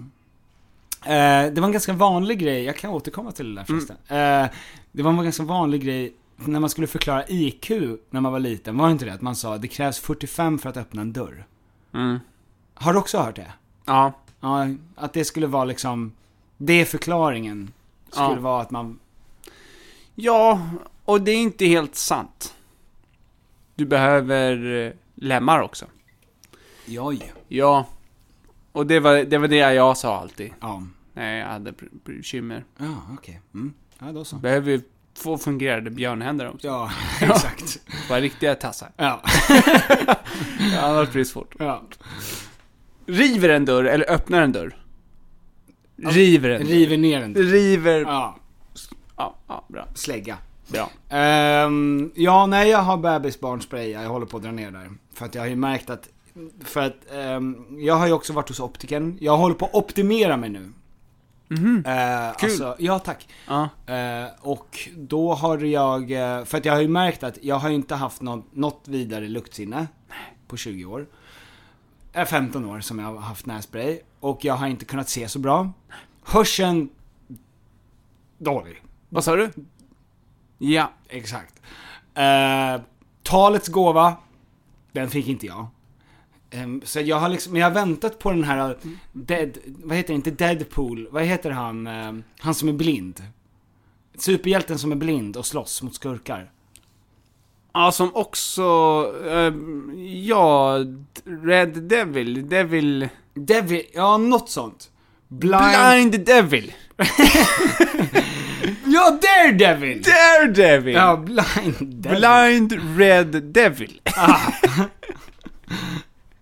B: Eh, det var en ganska vanlig grej, jag kan återkomma till det där förresten. Eh, det var en ganska vanlig grej när man skulle förklara IQ när man var liten, var det inte det? Att man sa det krävs 45 för att öppna en dörr.
A: Mm.
B: Har du också hört det?
A: Ja.
B: Ja, att det skulle vara liksom, det är förklaringen. Skulle
A: Ja.
B: vara att man,
A: Ja, och det är inte helt sant. Du behöver eh, lemmar också.
B: joj.
A: Ja. Och det var det, var det jag sa alltid.
B: Ja,
A: När jag hade pr- bekymmer.
B: ja okej. Mm. Ja, då så.
A: Behöver ju få fungerande björnhänder också.
B: Ja, exakt.
A: Bara riktiga tassar.
B: Ja.
A: Annars blir det svårt.
B: ja.
A: River en dörr, eller öppnar en dörr. River en dörr.
B: River ner den.
A: River... Ja,
B: Ja,
A: ja, bra.
B: slägga.
A: Bra.
B: Ehm, ja, nej jag har bebisbarnspray, jag håller på att dra ner där. För att jag har ju märkt att, för att ehm, jag har ju också varit hos optiken Jag håller på att optimera mig nu.
A: Mhm.
B: Eh,
A: Kul.
B: Alltså, ja tack.
A: Ja.
B: Eh, och då har jag, eh, för att jag har ju märkt att jag har ju inte haft något, något vidare luktsinne på 20 år. är 15 Eh, år som jag har haft nässpray och jag har inte kunnat se så bra. Hörseln... Dålig.
A: Vad sa du? Ja.
B: Exakt. Eh, talets gåva, den fick inte jag. Ehm, så jag har liksom, men jag har väntat på den här eh, Dead, vad heter det, inte Deadpool, vad heter han, Ehm, han som är blind? Superhjälten som är blind och slåss mot skurkar.
A: Ja, som också... Eh, ja, Red Devil. Devil...
B: Devil, ja något sånt. Blind,
A: Blind Devil.
B: ja Daredevil!
A: Daredevil!
B: ja, Blind Devil.
A: Blind Red Devil.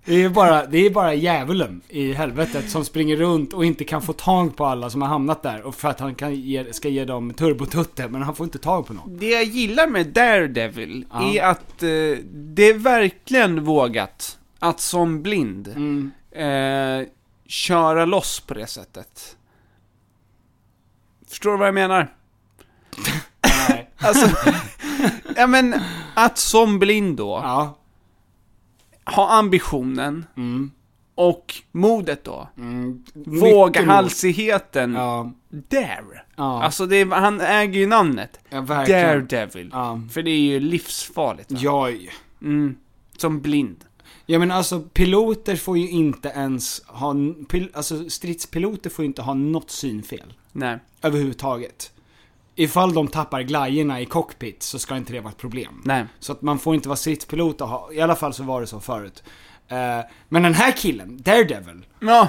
B: Det är ju bara, det är bara djävulen i helvetet som springer runt och inte kan få tag på alla som har hamnat där. Och för att han kan ge, ska ge dem turbotutte, men han får inte tag på någon.
A: Det jag gillar med Daredevil
B: Ja.
A: är att eh, det är verkligen vågat att som blind
B: Mm.
A: eh, köra loss på det sättet. Förstår du vad jag menar?
B: Nej.
A: Alltså, ja men att som blind då
B: Ja.
A: ha ambitionen och modet då.
B: Mm.
A: Våghalsigheten.
B: Ja.
A: Dare.
B: Ja.
A: Alltså det är, han äger ju namnet.
B: Ja, verkligen.
A: Daredevil.
B: Ja.
A: För det är ju livsfarligt. va?
B: Jag,
A: Mm. Som blind.
B: ja men alltså piloter får ju inte ens ha, n- pil, alltså stridspiloter får ju inte ha något synfel.
A: Nej.
B: Överhuvudtaget. Ifall de tappar glajjorna i cockpit så ska inte det vara ett problem.
A: Nej.
B: Så att man får inte vara stridspilot och ha, i alla fall så var det så förut. Eh, men den här killen, Daredevil,
A: Ja.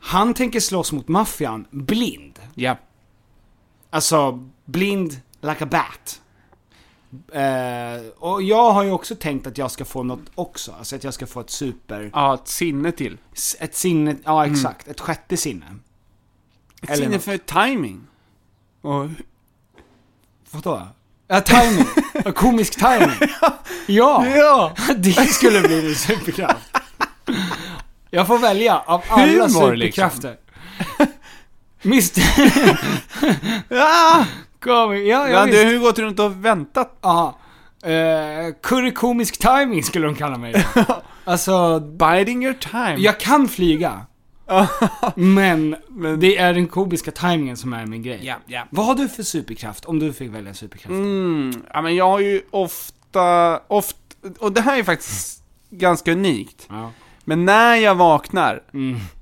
B: han tänker slåss mot maffian blind.
A: Ja.
B: Alltså, blind like a bat. Eh, och jag har ju också tänkt att jag ska få något också, alltså att jag ska få ett super...
A: Ja, ett sinne till.
B: s- Ett sinne, ja exakt, ett sjätte sinne.
A: Ett
B: Eller
A: sinne
B: något.
A: för timing. Och,
B: Vadå? Ja, timing. Ja, Komisk timing. Ja!
A: ja!
B: Det skulle bli min superkraft. Jag får välja av alla
A: Humor, liksom.
B: superkrafter. Mr...
A: ja!
B: Kom, ja,
A: Du
B: ja,
A: hade
B: visst.
A: ju gått runt och väntat.
B: Ja. Uh, kurrekomisk timing skulle de kalla mig. Alltså,
A: Biding your time.
B: jag kan flyga. men, det är den komiska timingen som är min grej.
A: ja, ja.
B: Vad har du för superkraft om du fick välja en superkraft?
A: Mm, ja, men jag har ju ofta, ofta, och det här är faktiskt ganska unikt.
B: Ja. Mm.
A: Men när jag vaknar,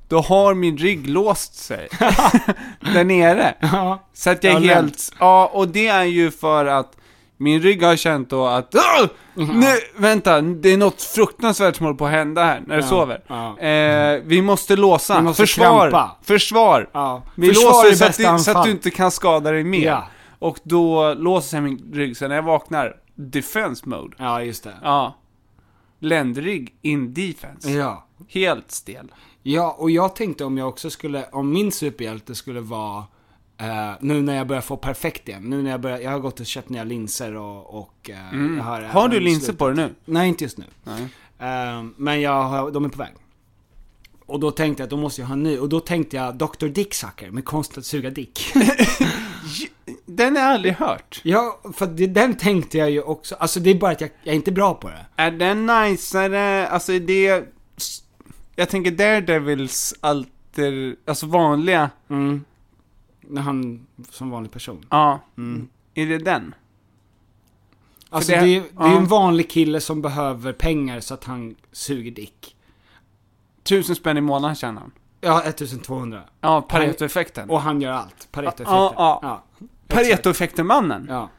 A: då har min rygg låst sig. där nere.
B: Ja.
A: Så att jag
B: Ja,
A: är helt, ja och det är ju för att min rygg har känt då att "Åh! nu, vänta, det är något fruktansvärt som håller på att hända här när jag sover.
B: ja.
A: Eh, vi måste låsa,
B: Vi måste
A: försvar,
B: krampa.
A: försvar.
B: Ja.
A: Vi
B: Försvar är
A: låser så att,
B: bästa
A: du, så att
B: anfall.
A: du inte kan skada dig mer.
B: Ja.
A: Och då låser jag min rygg, så när jag vaknar, defense mode.
B: ja, just det.
A: Ja. Ländrygg in defense.
B: Ja.
A: Helt stel.
B: Ja, och jag tänkte om jag också skulle, om min superhjälte skulle vara, eh, nu när jag börjar få perfekt igen, nu när jag börjar, jag har gått och köpt nya linser och, och eh, jag har,
A: Mm. Har du
B: även
A: linser
B: slut-
A: på dig nu?
B: Nej, inte just nu. Eh, men jag har, de är på väg. Och då tänkte jag att då måste jag ha en ny, och då tänkte jag Dr. Dicksucker med konst att suga dick.
A: Den har jag aldrig hört.
B: ja, för det, den tänkte jag ju också, alltså det är bara att jag, jag är inte bra på det.
A: Är den najsare, alltså är det... Jag tänker Daredevils alter, alltså vanliga,
B: När han, som vanlig person.
A: ja.
B: Mm.
A: Är det den?
B: Alltså
A: det-
B: det, det, är ju
A: ja.
B: en vanlig kille som behöver pengar så att han suger dick.
A: Tusen spänn i månaden tjänar han.
B: Ja, 1200.
A: Ja, Pareto-effekten.
B: Och han gör allt. Pareto-effekten.
A: Ja, ja.
B: ja.
A: Pareto-effekten-mannen
B: ja.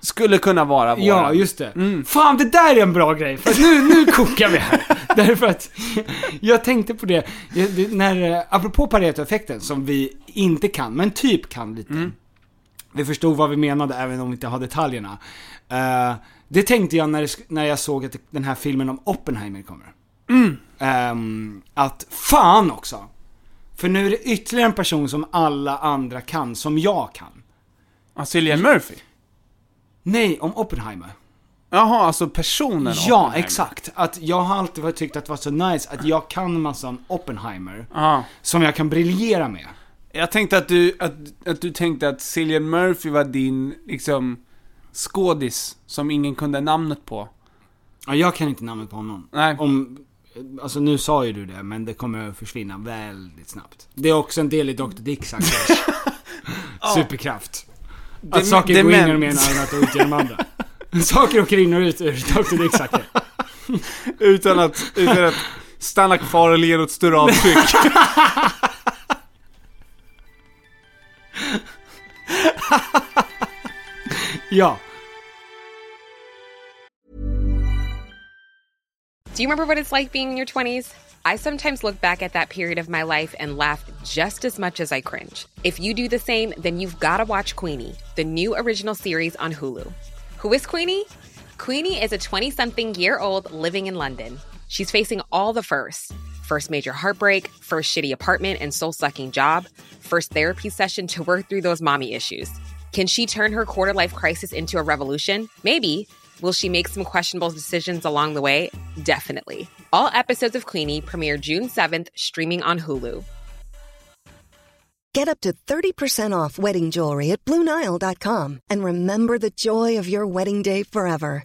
A: skulle kunna vara våran.
B: Ja, just det. Fan, det där är en bra grej! För att nu, nu kokar vi här. Därför att jag tänkte på det, jag- det- när, eh, apropå Pareto-effekten som vi inte kan, men typ kan lite. Vi förstod vad vi menade även om vi inte har detaljerna. Eh, det tänkte jag när, det sk- när jag såg att det- den här filmen om Oppenheimer kommer. Ehm, att fan också! För nu är det ytterligare en person som alla andra kan, som jag kan.
A: Ja, alltså, Cillian Murphy.
B: Nej, om Oppenheimer.
A: Jaha, alltså personen
B: Ja,
A: Oppenheimer.
B: exakt. Att jag har alltid varit- tyckt att det var så nice att jag kan massan Oppenheimer.
A: Ja.
B: Som jag kan briljera med.
A: Jag tänkte att du, att, att du tänkte att Cillian Murphy var din, liksom, skådis som ingen kunde namnet på.
B: Ja, jag kan inte namnet på honom.
A: Nej.
B: Om, eh, Alltså nu sa ju du det, men det kommer att försvinna väldigt snabbt. Det är också en del i Dr. Dicks engagemang. Superkraft. Att saker går in genom ena ögat och ut genom andra. saker åker in och ut ur Dr. Dicks axel.
A: Utan att, utan att stanna kvar eller ge något större avtryck.
B: Ja.
F: Do you remember what it's like being in your 20s? I sometimes look back at that period of my life and laugh just as much as I cringe. If you do the same, then you've got to watch Queenie, the new original series on Hulu. Who is Queenie? Queenie is a 20 something year old living in London. She's facing all the firsts first major heartbreak, first shitty apartment and soul sucking job, first therapy session to work through those mommy issues. Can she turn her quarter life crisis into a revolution? Maybe. Will she make some questionable decisions along the way? Definitely. All episodes of Queenie premiere June 7th, streaming on Hulu.
G: Get up to 30% off wedding jewelry at BlueNile.com and remember the joy of your wedding day forever.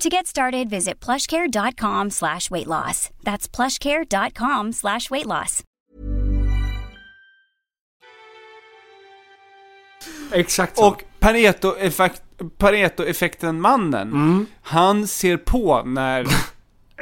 H: To get started, visit plushcare.com slash weight loss. That's plushcare.com slash weight loss.
B: Exakt så.
A: Och Pareto-effekten mannen,
B: Mm.
A: han ser på när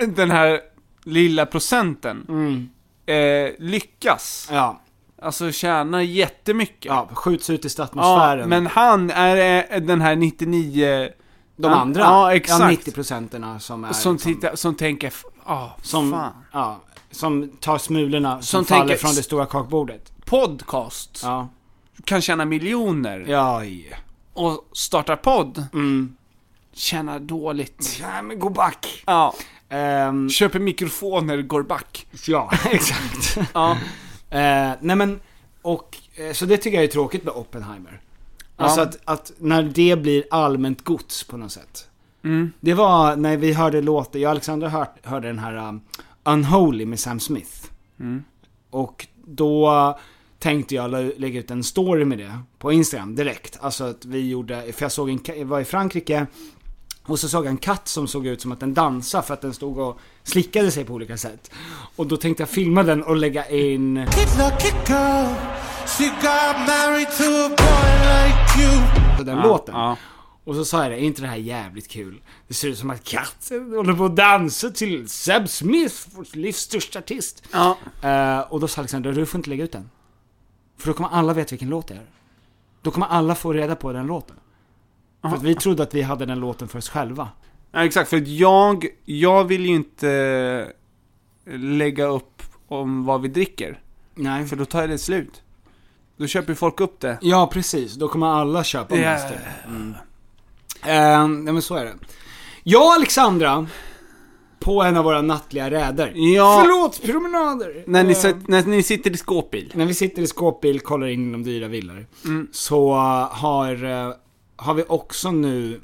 A: den här lilla procenten
B: Mm.
A: eh, lyckas.
B: ja.
A: Alltså tjänar jättemycket.
B: ja, skjuts ut i
A: Ja,
B: stratmosfären.
A: men han är eh, den här 99...
B: De
A: han-
B: andra,
A: Ja,
B: Ja,
A: exakt.
B: 90 procenterna som är...
A: som, tittar, som tänker, ja,
B: som,
A: fan.
B: ja, som tar smulorna som,
A: Som
B: faller
A: tänker-
B: från det stora kakbordet.
A: Podcast
B: Ja.
A: kan tjäna miljoner
B: Ja, Mm. ja.
A: och startar podd. Tjänar dåligt.
B: Nej men gå back.
A: Ja.
B: Ehm,
A: Köper mikrofoner, går back.
B: ja, exakt.
A: Ja.
B: Eh, nej men, och, eh, så det tycker jag är tråkigt med Oppenheimer. Alltså
A: Ja.
B: att, att när det blir allmänt gods på något sätt. Det var när vi hörde låten, jag och Alexandra hört, hörde den här um, Unholy med Sam Smith. Och då tänkte jag lä- lägga ut en story med det på Instagram direkt. Alltså att vi gjorde, för jag såg en, ka- jag var i Frankrike och så såg jag en katt som såg ut som att den dansade för att den stod och slickade sig på olika sätt. Och då tänkte jag filma den och lägga in... på den låten.
A: ja.
B: Och så sa jag det, är inte det här jävligt kul? Det ser ut som att katten håller på att dansa till Sam Smith, vårt livs största artist.
A: Ja.
B: Eh, och då sa Alexander, du får inte lägga ut den. För då kommer alla veta vilken låt det är. Då kommer alla få reda på den låten. För att vi trodde att vi hade den låten för oss själva.
A: Ja, exakt, för att jag, jag vill ju inte lägga upp om vad vi dricker.
B: Nej.
A: För då tar det slut. Då köper folk upp det.
B: Ja, precis. Då kommer alla köpa
A: Ja.
B: Monster. Mm. Eh, nej men så är det. Jag och Alexandra, på en av våra nattliga räder.
A: Ja.
B: Förlåt, promenader!
A: När ni,
B: Eh,
A: sit- när ni sitter i skåpbil.
B: När vi sitter i skåpbil, kollar in i de dyra villor. Så eh, har, eh, har vi också nu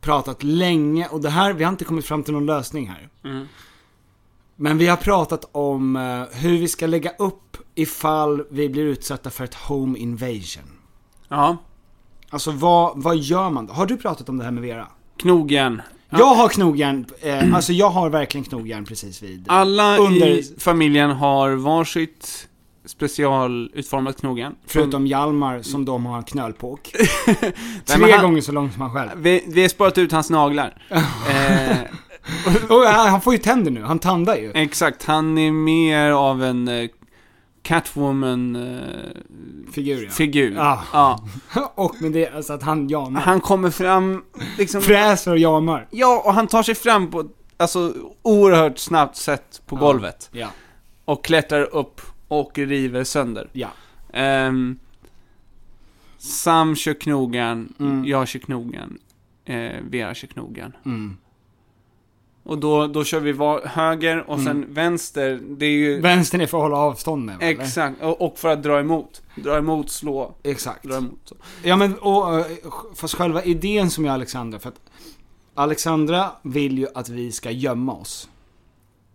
B: pratat länge, och det här, vi har inte kommit fram till någon lösning här. Men vi har pratat om eh, hur vi ska lägga upp ifall vi blir utsatta för ett home invasion.
A: Ja.
B: Alltså vad, vad gör man då? Har du pratat om det här med Vera?
A: Knogjärn.
B: Jag har knogjärn, eh, alltså jag har verkligen knogjärn precis vid...
A: Alla i
B: under,
A: familjen har varsitt specialutformat knogjärn.
B: Förutom Hjalmar som de har en knölpåk.
A: Nej,
B: Tre
A: men han-
B: gånger så lång som han själv.
A: Vi, vi har sparat ut hans naglar. eh,
B: äh, Och han han får ju tänder nu, han tandar ju.
A: exakt, han är mer av en eh, Catwoman-figur.
B: ja. Ah.
A: figur.
B: Ja.
A: Ja.
B: Och med det, alltså att han jamar.
A: Han kommer fram, liksom...
B: Fräser och jamar.
A: Ja, och han tar sig fram på ett alltså, oerhört snabbt sätt på
B: Ja.
A: golvet.
B: Ja.
A: Och klättrar upp och river sönder.
B: Ja.
A: Ehm, Sam kör knogan,
B: Mm.
A: jag kör knogan, eh, Vera kör knogan.
B: Mm.
A: Och då, då kör vi va- höger och sen vänster, det är ju...
B: Vänstern är för att hålla avstånd med va, eller?
A: Exakt, och, och för att dra emot. Dra emot, slå.
B: Exakt.
A: Dra emot, så.
B: Ja men, och, eh, fast själva idén som är Alexandra, för att Alexandra vill ju att vi ska gömma oss.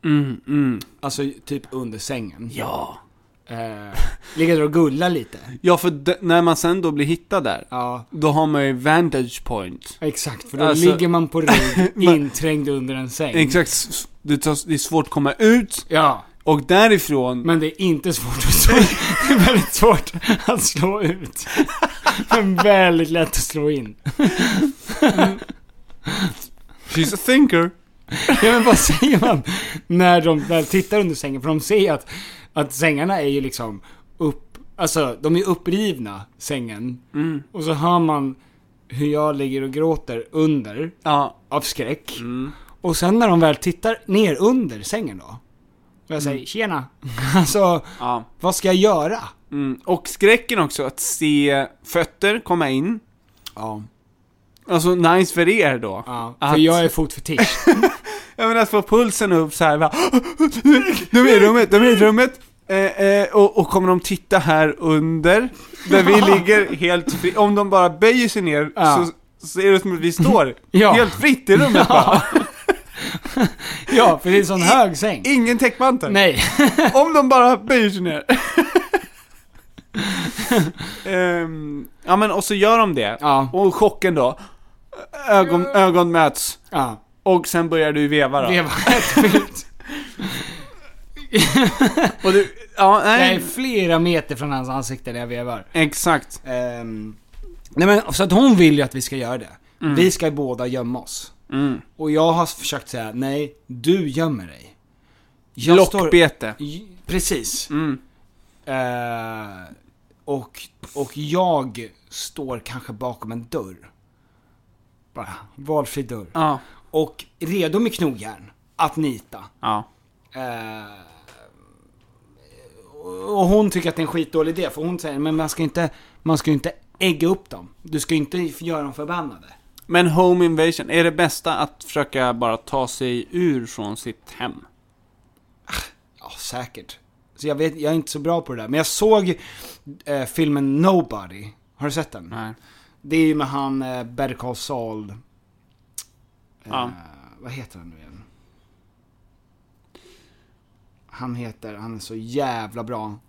A: Mm, mm.
B: Alltså typ under sängen.
A: Ja.
B: Eh, ligger där och gullar lite.
A: Ja, för d- när man sen då blir hittad där,
B: Ja,
A: då har man ju vantage point.
B: exakt. För då
A: Alltså-
B: ligger man på rygg,
A: Man-
B: inträngd under en säng.
A: Exakt, s- s- det, tas, det är svårt att komma ut
B: Ja,
A: och därifrån...
B: men det är inte svårt att slå Det är väldigt svårt att slå ut. Men väldigt lätt att slå in.
A: She's a thinker.
B: Ja men vad säger man när de väl tittar under sängen? För de ser att, att sängarna är ju liksom upp... Alltså, de är upprivna, sängen.
A: Mm.
B: Och så hör man hur jag ligger och gråter under,
A: Ja.
B: av skräck.
A: Mm.
B: Och sen när de väl tittar ner under sängen då. Och jag säger tjena. Alltså,
A: Mm. ja.
B: vad ska jag göra?
A: Mm. Och skräcken också, att se fötter komma in.
B: Ja.
A: Alltså, nice för er då.
B: ja för
A: Att-
B: jag är fotfetisch.
A: Jag menar att få pulsen upp så här bara, De är i rummet, de är i rummet. Eh, eh, och, och kommer de titta här under? Där vi ligger helt fritt. Om de bara böjer sig ner
B: Ja.
A: så så är det som att vi står
B: Ja.
A: helt fritt i rummet bara.
B: ja, för det är en sån hög säng.
A: Ingen täckmantel.
B: Nej.
A: Om de bara böjer sig ner. Ehm, ja men och så gör de det.
B: Ja.
A: Och chocken då. Ögon, ögon möts.
B: Ja.
A: Och sen börjar du veva då.
B: Det var helt fult.
A: Och du, ja,
B: Jag
A: nej.
B: är flera meter från hans ansikte när jag vevar.
A: Exakt.
B: Ehm, nej men, så att hon vill ju att vi ska göra det. Vi ska båda gömma oss.
A: Mm.
B: Och jag har försökt säga, nej, du gömmer dig. Jag
A: Lockbete.
B: står- J- Precis.
A: Mm.
B: Eh, och, och jag står kanske bakom en dörr. Bara, valfri dörr.
A: Ja.
B: Och redo med knogjärn, att nita.
A: Ja.
B: Eh, och hon tycker att det är en skitdålig idé, för hon säger men man ska inte, man ska ju inte ägga upp dem. Du ska ju inte göra dem förbannade.
A: Men home invasion, är det bästa att försöka bara ta sig ur från sitt hem?
B: Ja, säkert. Så jag vet, jag är inte så bra på det där. Men jag såg eh, filmen Nobody. Har du sett den?
A: Nej.
B: Det är ju med han eh, Better Call Saul. Eh,
A: Ja.
B: Vad heter han nu igen? Han heter, han är så jävla bra.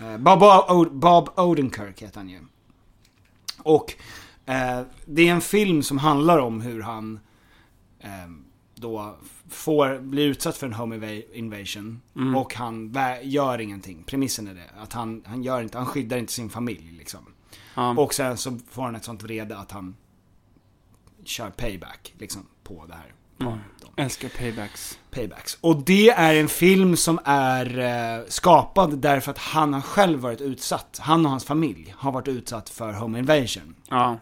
B: Eh, Bob, o- Bob Odenkirk heter han ju. Och eh, det är en film som handlar om hur han eh, då får bli utsatt för en home inva- invasion. Och han vä- gör ingenting. Premissen är det. Att han, han gör inte, han skyddar inte sin familj liksom.
A: Ja.
B: Och sen så får han ett sånt vrede att han kör payback liksom på det här.
A: Mm. Älskar paybacks.
B: Paybacks. Och det är en film som är eh, skapad därför att han har själv varit utsatt. Han och hans familj har varit utsatt för home invasion.
A: Ja.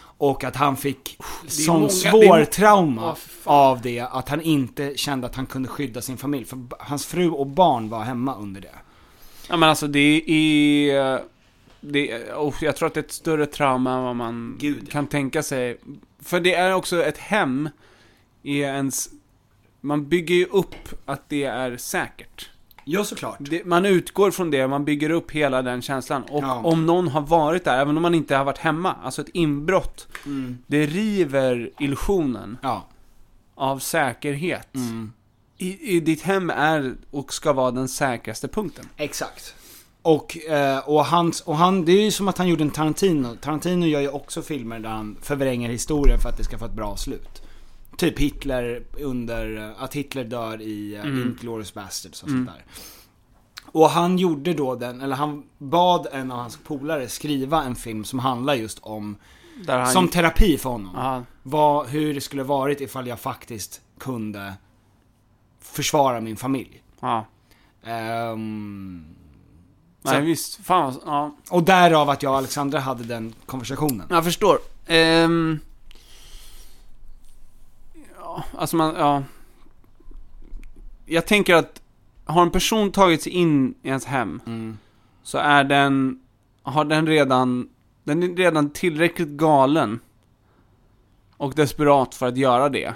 B: Och att han fick sån
A: många- det är
B: svår
A: må-
B: trauma
A: Åh, fan.
B: av det att han inte kände att han kunde skydda sin familj. För b- hans fru och barn var hemma under det.
A: Ja men alltså det är... Det är oh, jag tror att det är ett större trauma än vad man
B: Gud.
A: kan tänka sig. För det är också ett hem i ens... Man bygger ju upp att det är säkert.
B: Ja, såklart.
A: Det, man utgår från det, man bygger upp hela den känslan. Och
B: Ja.
A: om någon har varit där, även om man inte har varit hemma, alltså ett inbrott.
B: Mm.
A: Det river illusionen
B: Ja.
A: av säkerhet.
B: Mm.
A: I, I ditt hem är och ska vara den säkraste punkten.
B: Exakt. Och, eh, och, hans, och han, det är ju som att han gjorde en Tarantino. Tarantino gör ju också filmer där han förvränger historien för att det ska få ett bra slut. Typ Hitler under, eh, att Hitler dör i eh,
A: Mm.
B: Inglourious Basterds och sånt där. Och han gjorde då den, eller han bad en av hans polare skriva en film som handlar just om,
A: Där han,
B: som terapi för honom.
A: ja,
B: Vad, hur det skulle varit ifall jag faktiskt kunde försvara min familj.
A: ja.
B: Ehm, Så-
A: Nej, visst. Fan vad- ja.
B: Och därav att jag och Alexandra hade den konversationen.
A: Jag förstår. Ehm, ja, alltså man, ja. Jag tänker att har en person tagit sig in i ens hem så är den, har den redan, den är redan tillräckligt galen och desperat för att göra det.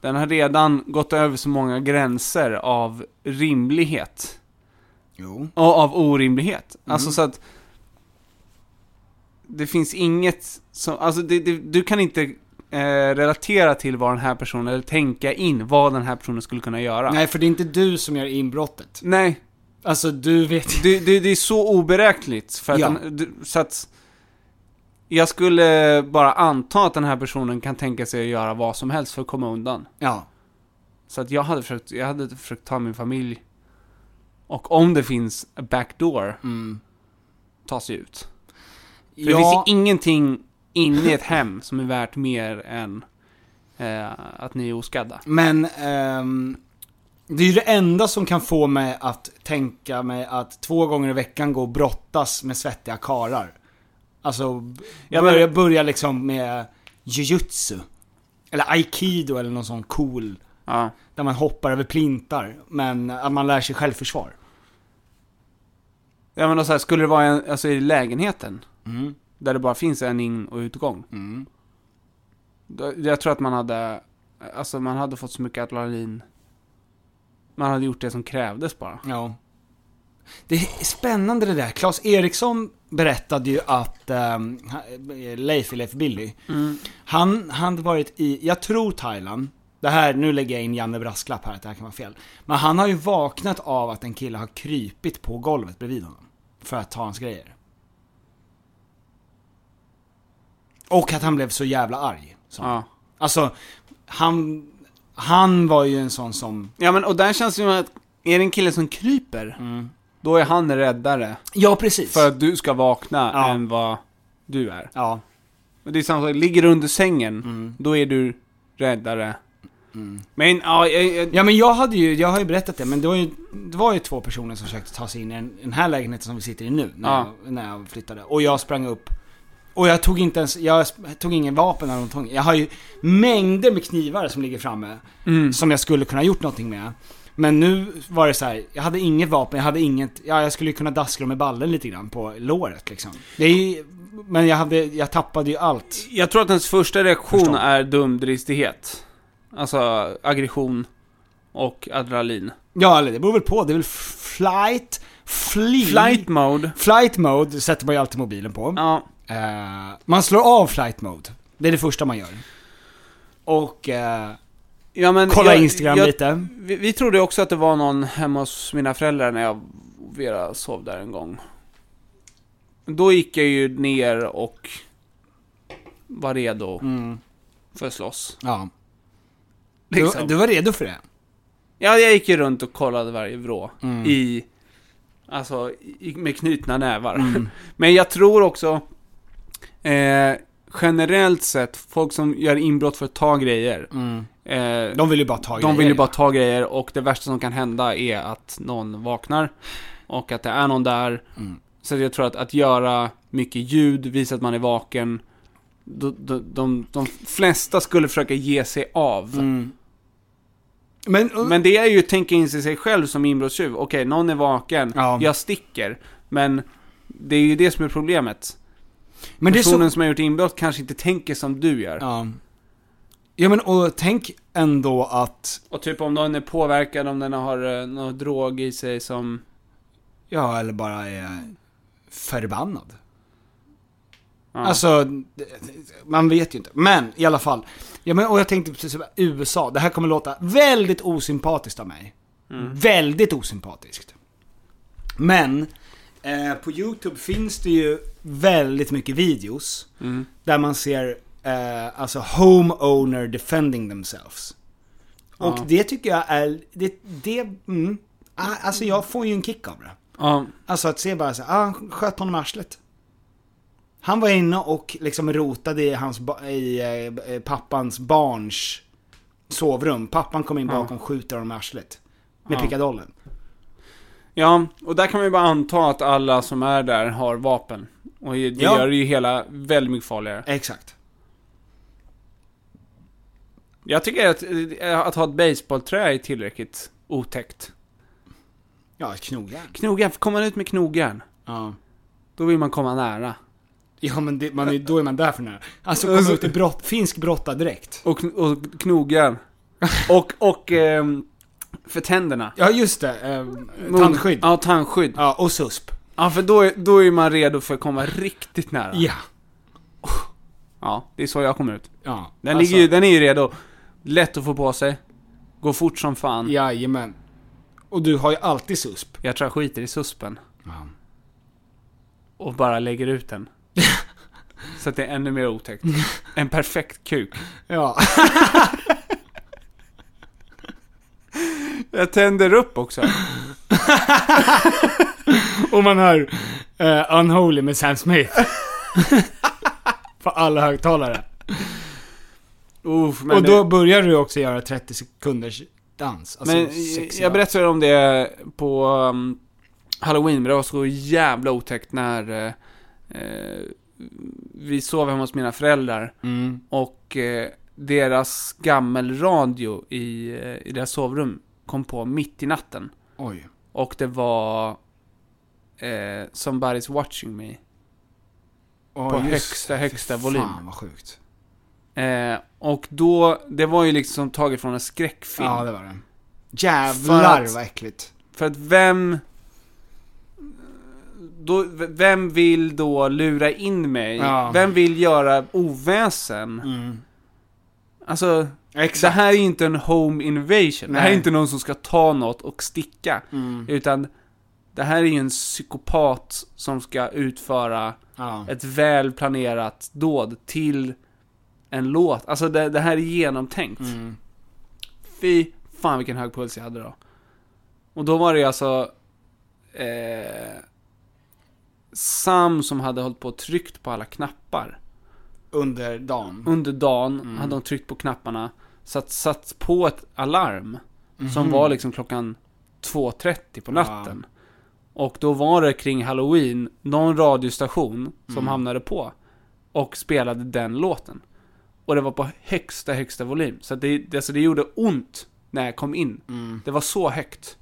A: Den har redan gått över så många gränser av rimlighet.
B: Jo.
A: Och av orimlighet.
B: Mm.
A: Alltså så att det finns inget som, alltså det, det, du kan inte eh, relatera till vad den här personen, eller tänka in vad den här personen skulle kunna göra.
B: Nej, för det är inte du som gör inbrottet.
A: Nej.
B: Alltså du vet
A: det, det, det är så oberäkneligt, för att
B: Ja.
A: den, du, så att jag skulle bara anta att den här personen kan tänka sig att göra vad som helst för att komma undan.
B: Ja.
A: Så att jag hade försökt, jag hade försökt ta min familj och om det finns a backdoor, ta sig ut. För det
B: mm. Ja.
A: finns ju ingenting inne i ett hem som är värt mer än eh, att ni är oskadda.
B: Men ehm, det är ju det enda som kan få mig att tänka mig att två gånger i veckan gå och brottas med svettiga karar. Alltså, b-
A: Ja, men-
B: börja, börja liksom med jujutsu. Eller aikido eller någon sån cool. Där man hoppar över plintar, men att man lär sig självförsvar.
A: Ja men då så här, skulle det vara en, alltså i lägenheten?
B: Mm.
A: Där det bara finns en in och utgång?
B: Mm.
A: Då, jag tror att man hade, alltså man hade fått så mycket adrenalin. Man hade gjort det som krävdes bara.
B: Ja. Det är spännande det där. Claes Eriksson berättade ju att ehm, ha- eh, Leif i Leif Billy,
A: Mm.
B: han hade varit i, jag tror Thailand, det här, nu lägger jag in Janne Brasklapp här att det här kan vara fel. Men han har ju vaknat av att en kille har krypit på golvet bredvid honom. För att ta hans grejer. Och att han blev så jävla arg. Så.
A: Ja.
B: Alltså, han, han var ju en sån som...
A: Ja men och där känns det ju att, är det en kille som kryper?
B: Mm.
A: Då är han räddare.
B: Ja precis.
A: För att du ska vakna
B: Ja.
A: än vad du är.
B: Ja. Mm.
A: Men det är samma sak, ligger du under sängen, då är du räddare. Men ja, jag, jag,
B: Ja men jag hade ju, jag har ju berättat det, men det var ju, det var ju två personer som försökte ta sig in i den, den här lägenheten som vi sitter i nu, när,
A: Ja.
B: jag, när jag flyttade. Och jag sprang upp. Och jag tog inte ens, jag sp- tog ingen vapen eller någonting. Jag har ju mängder med knivar som ligger framme,
A: Mm.
B: som jag skulle kunna gjort någonting med. Men nu var det så här, jag hade inget vapen, jag hade inget, ja jag skulle ju kunna daskla dem med ballen lite grann på låret liksom. Det är ju, men jag hade, jag tappade ju allt.
A: jag tror att ens första reaktion
B: Förstår.
A: är dumdristighet. Alltså aggression och adrenalin.
B: Ja eller det beror väl på, det är väl flight, flee.
A: Flight mode.
B: Flight mode sätter man ju alltid mobilen på.
A: Ja.
B: Eh, man slår av flight mode. Det är det första man gör. Och eh,
A: Ja, men
B: kolla
A: jag-
B: Instagram
A: jag-
B: lite.
A: Vi, vi trodde också att det var någon hemma hos mina föräldrar när jag och Vera sov där en gång. Då gick jag ju ner och var redo för att slåss.
B: Ja.
A: Liksom.
B: Du, du var redo för det?
A: Ja, jag gick ju runt och kollade varje vrå
B: Mm.
A: i, alltså, i, med knutna nävar. Men jag tror också, eh, generellt sett, folk som gör inbrott för att ta grejer, eh,
B: De vill ju bara ta
A: de
B: grejer.
A: vill ju bara ta grejer och det värsta som kan hända är att någon vaknar och att det är någon där.
B: Mm.
A: Så jag tror att, att göra mycket ljud, visa att man är vaken. De, de, de, de flesta skulle försöka ge sig av.
B: Mm. Men,
A: Men det är ju att tänka in sig sig själv som inbrottstjuv. Okej, någon är vaken,
B: Ja.
A: jag sticker. Men det är ju det som är problemet.
B: men det är
A: Personen
B: så...
A: som har gjort inbrott kanske inte tänker som du gör.
B: Ja. ja men och tänk ändå att,
A: Och typ om någon är påverkad, om den har eh, någon drog i sig som...
B: ja eller bara är förbannad.
A: Ja.
B: Alltså, det- man vet ju inte. Men i alla fall. Ja, men, och jag tänkte precis på USA. Det här kommer låta väldigt osympatiskt av mig.
A: Mm.
B: Väldigt osympatiskt. Men, eh, på YouTube finns det ju väldigt mycket videos.
A: Mm.
B: Där man ser, eh, alltså homeowner defending themselves. Och
A: Ja.
B: det tycker jag är, det, det, mm, Ah, alltså jag får ju en kick av det.
A: Ja.
B: Alltså att se bara så här, ah, han sköt honom i arslet. Han var inne och liksom rotade i, hans, ba- i eh, eh, pappans barns sovrum. Pappan kom in bakom, skjuter honom i arslet. Med
A: Ja.
B: pickadollen.
A: Ja, och där kan man ju bara anta att alla som är där har vapen. Och det
B: Ja.
A: gör ju hela väldigt mycket farligare.
B: Exakt.
A: Jag tycker att, eh, att ha ett baseballträ är tillräckligt otäckt.
B: Ja, ett knogjärn.
A: Knogjärn, för kommer man ut med knogjärn,
B: Ja.
A: då vill man komma nära.
B: Ja men det, man är, då är man där för nära. Alltså komma ut i brott, finsk brottardräkt.
A: Och, kn- och knogjärn. Och, och ehm, för tänderna.
B: Ja just det, eh,
A: Mun-
B: tandskydd.
A: Ja, tandskydd.
B: Ja, och susp.
A: Ja, för då är, då är man redo för att komma riktigt nära.
B: Ja.
A: Ja, det är så jag kommer ut.
B: Ja.
A: Den,
B: alltså,
A: ligger ju, den är ju redo. Lätt att få på sig. Går fort som fan.
B: Alltså, Jajamän. Och du har ju alltid susp.
A: Jag tror jag skiter i suspen.
B: Ja.
A: Och bara lägger ut den. Så att det är ännu mer otäckt. En perfekt kuk.
B: Ja.
A: Jag tänder upp också.
B: och man hör eh, Unholy med Sam Smith. på alla högtalare.
A: Uff, men
B: och då
A: det,
B: börjar du också göra 30 sekunders dans. Alltså
A: men eh,
B: sexig
A: jag
B: dans.
A: berättade om det på um, Halloween, men det var så jävla otäckt när eh, eh, vi sov hemma hos mina föräldrar.
B: Mm.
A: Och eh, deras gammelradio i, eh, i deras sovrum kom på mitt i natten.
B: Oj.
A: Och det var eh, Somebody's Watching Me.
B: Oj,
A: på
B: just-
A: högsta, högsta
B: fy
A: volym.
B: Fan vad sjukt.
A: Eh, och då, det var ju liksom taget från en skräckfilm.
B: Ja, det var det. Jävlar
A: För att-
B: vad äckligt.
A: För att vem... Då, v- vem vill då lura in mig?
B: Ja.
A: Vem vill göra oväsen?
B: Mm.
A: Alltså,
B: Exakt.
A: det här är ju inte en home invasion. Det här är
B: Nej.
A: inte någon som ska ta något och sticka.
B: Mm.
A: Utan det här är ju en psykopat som ska utföra
B: Ja.
A: ett väl planerat dåd till en låt. Alltså det, det här är genomtänkt.
B: Mm.
A: Fy fan vilken hög puls jag hade då. Och då var det ju alltså... Eh, Sam som hade hållit på och tryckt på alla knappar.
B: Under dagen.
A: Under dagen hade de tryckt på knapparna. Så att satt på ett alarm. Som var liksom klockan 2.30 på natten. Och då var det kring halloween någon radiostation som hamnade på. Och spelade den låten. Och det var på högsta, högsta volym. Så att det, det, alltså det gjorde ont när jag kom in. Det var så högt.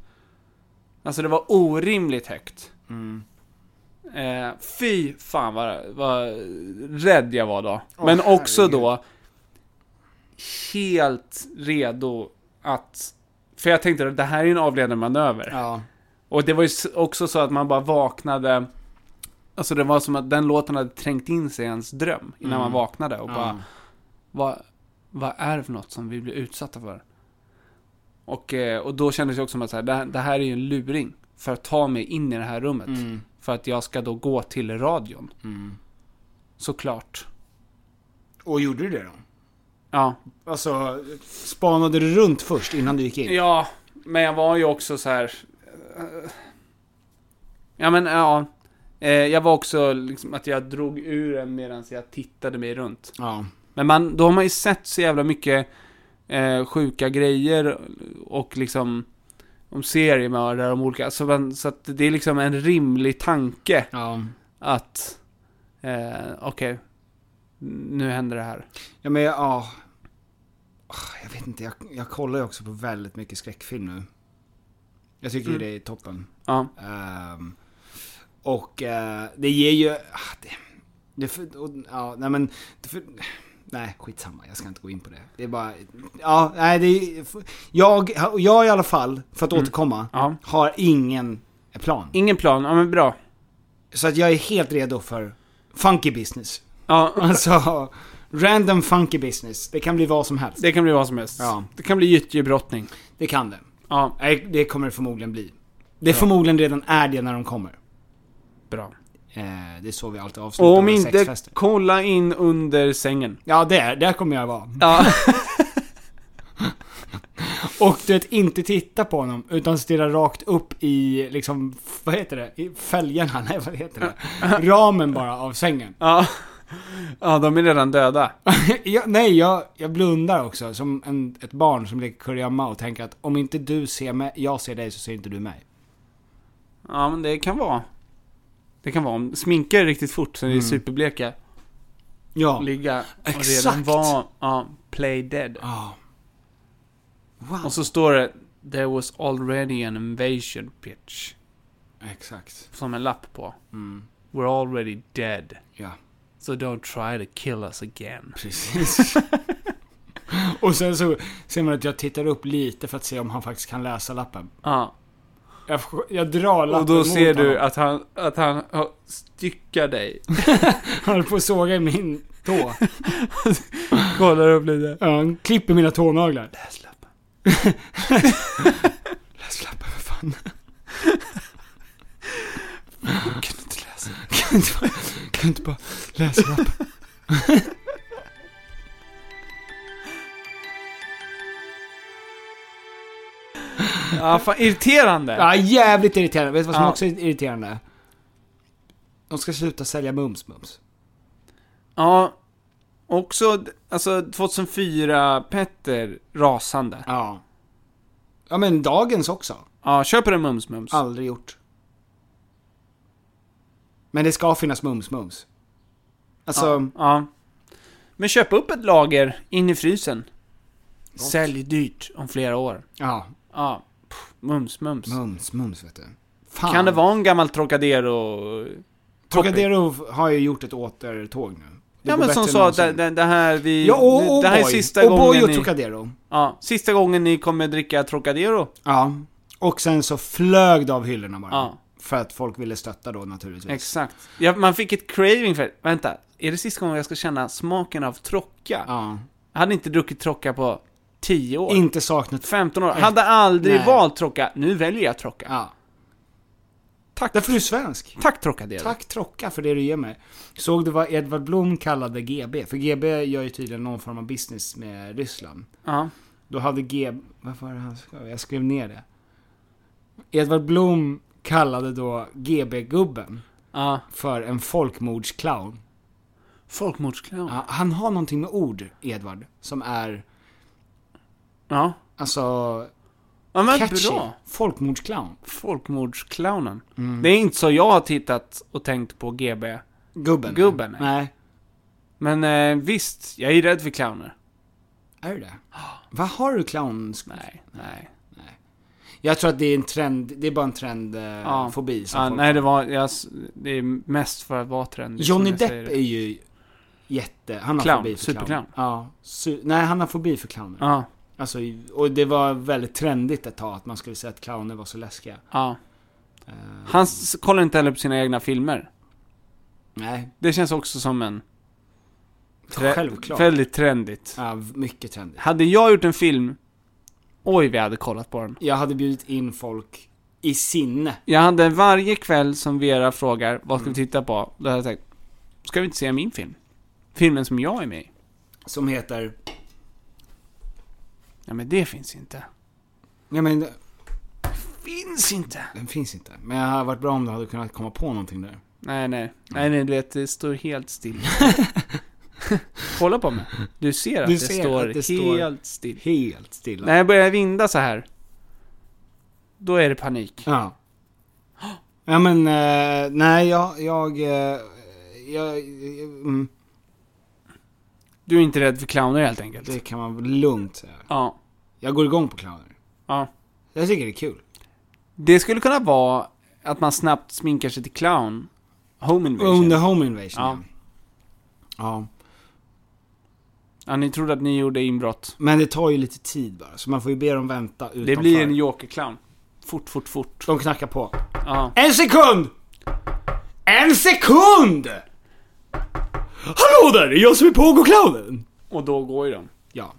A: Alltså det var orimligt högt. Eh, fy fan vad, vad rädd jag var då. Men också då helt redo att... För jag tänkte att det här är ju en avledande manöver.
B: Ja.
A: Och det var ju s- också så att man bara vaknade... Alltså det var som att den låten hade trängt in sig i ens dröm innan man vaknade och bara... Vad, vad är det för något som vi blir utsatta för? Och, eh, och då kändes det också som att så här, det, här- det här är ju en luring. För att ta mig in i det här rummet. För att jag ska då gå till radion. Såklart.
B: Och gjorde du det då?
A: Ja.
B: Alltså, spanade du runt först innan du gick in?
A: Ja, men jag var ju också så här. eh, Ja, men ja. Eh, Jag var också liksom att jag drog ur den medan jag tittade mig runt.
B: Ja.
A: Men man, då har man ju sett så jävla mycket eh, sjuka grejer och liksom om seriemördare och olika, så, man, så att det är liksom en rimlig tanke
B: Ja.
A: att eh, okej, nu händer det här.
B: Ja men jag- ja. Ah, Jag vet inte, jag, jag kollar ju också på väldigt mycket skräckfilm nu. Jag tycker ju
A: Mm.
B: det är toppen.
A: Ja,
B: Ehm, och eh, det ger ju... ah, Det, det för, och, ja, nej men... Det för, nej, skitsamma. Jag ska inte gå in på det. Det är bara... Ja, nej det är, jag, jag i alla fall, för att återkomma,
A: Mm. ja.
B: har ingen plan.
A: Ingen plan, ja men bra.
B: Så att jag är helt redo för funky business.
A: Ja,
B: Alltså, random funky business. Det kan bli vad som helst.
A: det kan bli vad som helst.
B: Ja.
A: Det kan bli gyttjebrottning.
B: Det kan det.
A: Ja,
B: Nej, Det kommer det förmodligen bli. Det förmodligen redan är det när de kommer.
A: bra.
B: Eh, det är så vi alltid
A: Och
B: avslutar
A: om
B: våra
A: inte,
B: sexfester.
A: kolla in under sängen.
B: Ja, där, där kommer jag vara.
A: Ja,
B: Och du vet, inte titta på honom, utan stirra rakt upp i, liksom, vad heter det? I fälgarna? Nej, vad heter det? Ramen bara av sängen.
A: ja. ja de är redan döda.
B: jag, nej, jag, jag blundar också, som en, ett barn som leker kurragömma och tänker att om inte du ser mig, jag ser dig så ser inte du mig.
A: Ja, men det kan vara. Det kan vara. om- Sminka er riktigt fort så ni är
D: Mm.
A: superbleka.
B: Ja.
A: Ligga och redan
B: Exakt.
A: vara, ja, play dead. Och så står det There was already an invasion pitch.
B: Exakt.
A: Som en lapp på.
B: Mm.
A: We're already dead.
B: Ja.
A: So don't try to kill us again.
B: Precis. Och sen så ser man att jag tittar upp lite för att se om han faktiskt kan läsa lappen.
A: Ja.
B: Jag, f- jag drar lappen
A: Och då
B: mot
A: ser du
B: honom.
A: att han, att han har- styckar dig.
B: Han höll på att såga i min tå.
A: Kollar upp lite.
B: Ja, han klipper mina tånaglar. Läs lappen. Läs lappen, för fan. Kan du inte läsa? Kan du inte bara, kan du inte bara läsa lappen?
A: Ja, fan irriterande.
B: Ja, jävligt irriterande. Vet du vad som
A: Ja.
B: också är irriterande? De ska sluta sälja Mums-Mums.
A: Ja, också d- alltså 2004 Petter rasande.
B: Ja. Ja men dagens också.
A: Ja, köper en Mums Mums.
B: Aldrig gjort. Men det ska finnas Mums-Mums. Alltså...
A: Ja, ja. Men köp upp ett lager in i frysen. Sälj dyrt om flera år.
B: Ja.
A: Ja, pff, Mums Mums.
B: Mums, mums vet du. Fan.
A: Kan det vara en gammal Trocadero...
B: Trocadero har ju gjort ett återtåg nu. Det
A: Ja
B: går
A: men
B: bättre
A: som
B: än
A: sa att
B: någonsin.
A: det, det, det här vi...
B: Ja, oh, och, och
A: det här
B: O'boy.
A: är sista
B: O'boy
A: gången
B: och
A: ni...
B: Trocadero.
A: Ja, sista gången ni kommer dricka Trocadero.
B: Ja. Och sen så flög det av hyllorna bara.
A: Ja.
B: För att folk ville stötta då naturligtvis.
A: Exakt. Ja, man fick ett craving för... Vänta, är det sista gången jag ska känna smaken av trocka?
B: Ja.
A: Jag hade inte druckit trocka på 10 år.
B: Inte saknat...
A: 15 år. Hade aldrig
B: Nej.
A: valt trocka. Nu väljer jag trocka.
B: Ja. Tack. Därför du är svensk.
A: Tack Trocadero.
B: Tack Trocka för det du ger mig. Såg du vad Edvard Blom kallade GB? För GB gör ju tydligen någon form av business med Ryssland.
A: Ja.
B: Då hade GB... Vad var det han skrev? Jag skrev ner det. Edvard Blom kallade då GB-gubben
A: Ja.
B: för en folkmordsclown.
A: Folkmordsclown.
B: Ja, han har någonting med ord, Edvard, som är...
A: Ja.
B: Alltså...
A: Ja men
B: catchy.
A: bra.
B: Folkmordsclown.
A: Folkmordsclownen.
B: Mm.
A: Det är inte så jag har tittat och tänkt på GB.
B: Gubben.
A: Gubben, nej.
B: nej. nej.
A: Men eh, visst, jag är rädd för clowner.
B: Är du det? Vad har du clowns...
A: Nej, nej.
B: Jag tror att det är en trend, det är bara en trendfobi
A: Ja.
B: eh, fobi som
A: Ja,
B: folk
A: nej,
B: har.
A: det var... Jag, s- det är mest för att vara trendig. som
B: Johnny
A: jag säger
B: Depp
A: det.
B: är ju jätte... Han har
A: Clown,
B: fobi för
A: superclown.
B: Ja. Su- nej, han har fobi för clowner.
A: Ja,
B: Alltså, och det var väldigt trendigt ett tag att man skulle säga att clowner var så läskiga.
A: ja.
B: Eh,
A: Han s- kollar inte heller på sina egna filmer.
B: nej,
A: Det känns också som en...
B: självklart.
A: Väldigt trendigt.
B: Ja, v- mycket trendigt.
A: Hade jag gjort en film... Oj, vi hade kollat på den.
B: Jag hade bjudit in folk i sinne.
A: Jag hade varje kväll som Vera frågar, vad ska vi
B: Mm.
A: titta på? Då hade jag sagt, ska vi inte se min film? Filmen som jag är med i.
B: Som heter...
A: Ja, men det finns inte.
B: Ja, men
A: Finns inte!
B: den finns inte. Men jag hade varit bra om du hade kunnat komma på någonting där.
A: Nej, nej. Nej, nej, du vet, det står helt still. Kolla på mig. Du ser att,
B: Du
A: det,
B: ser
A: står
B: att det står-
A: helt still.
B: Helt stilla.
A: När jag börjar vinda så här. Då är det panik.
B: Ja. Ja men, eh, nej jag, jag, eh, jag, eh, mm,
A: Du är inte rädd för clowner helt enkelt.
B: det kan man lugnt säga.
A: Ja.
B: Jag går igång på clowner.
A: Ja.
B: Jag tycker det är kul.
A: Det skulle kunna vara att man snabbt sminkar sig till clown. Home invasion.
B: Own the home invasion.
A: Ja.
B: Ja. ja.
A: Ja, ni trodde att ni gjorde inbrott.
B: Men det tar ju lite tid bara, så man får ju be dem vänta utanför.
A: Det blir en joker-clown. Fort, fort, fort.
B: De knackar på.
A: Ja.
B: En sekund! En sekund! Hallå där, det är jag som är Pogo-clownen!
A: Och då går ju de.
B: Ja.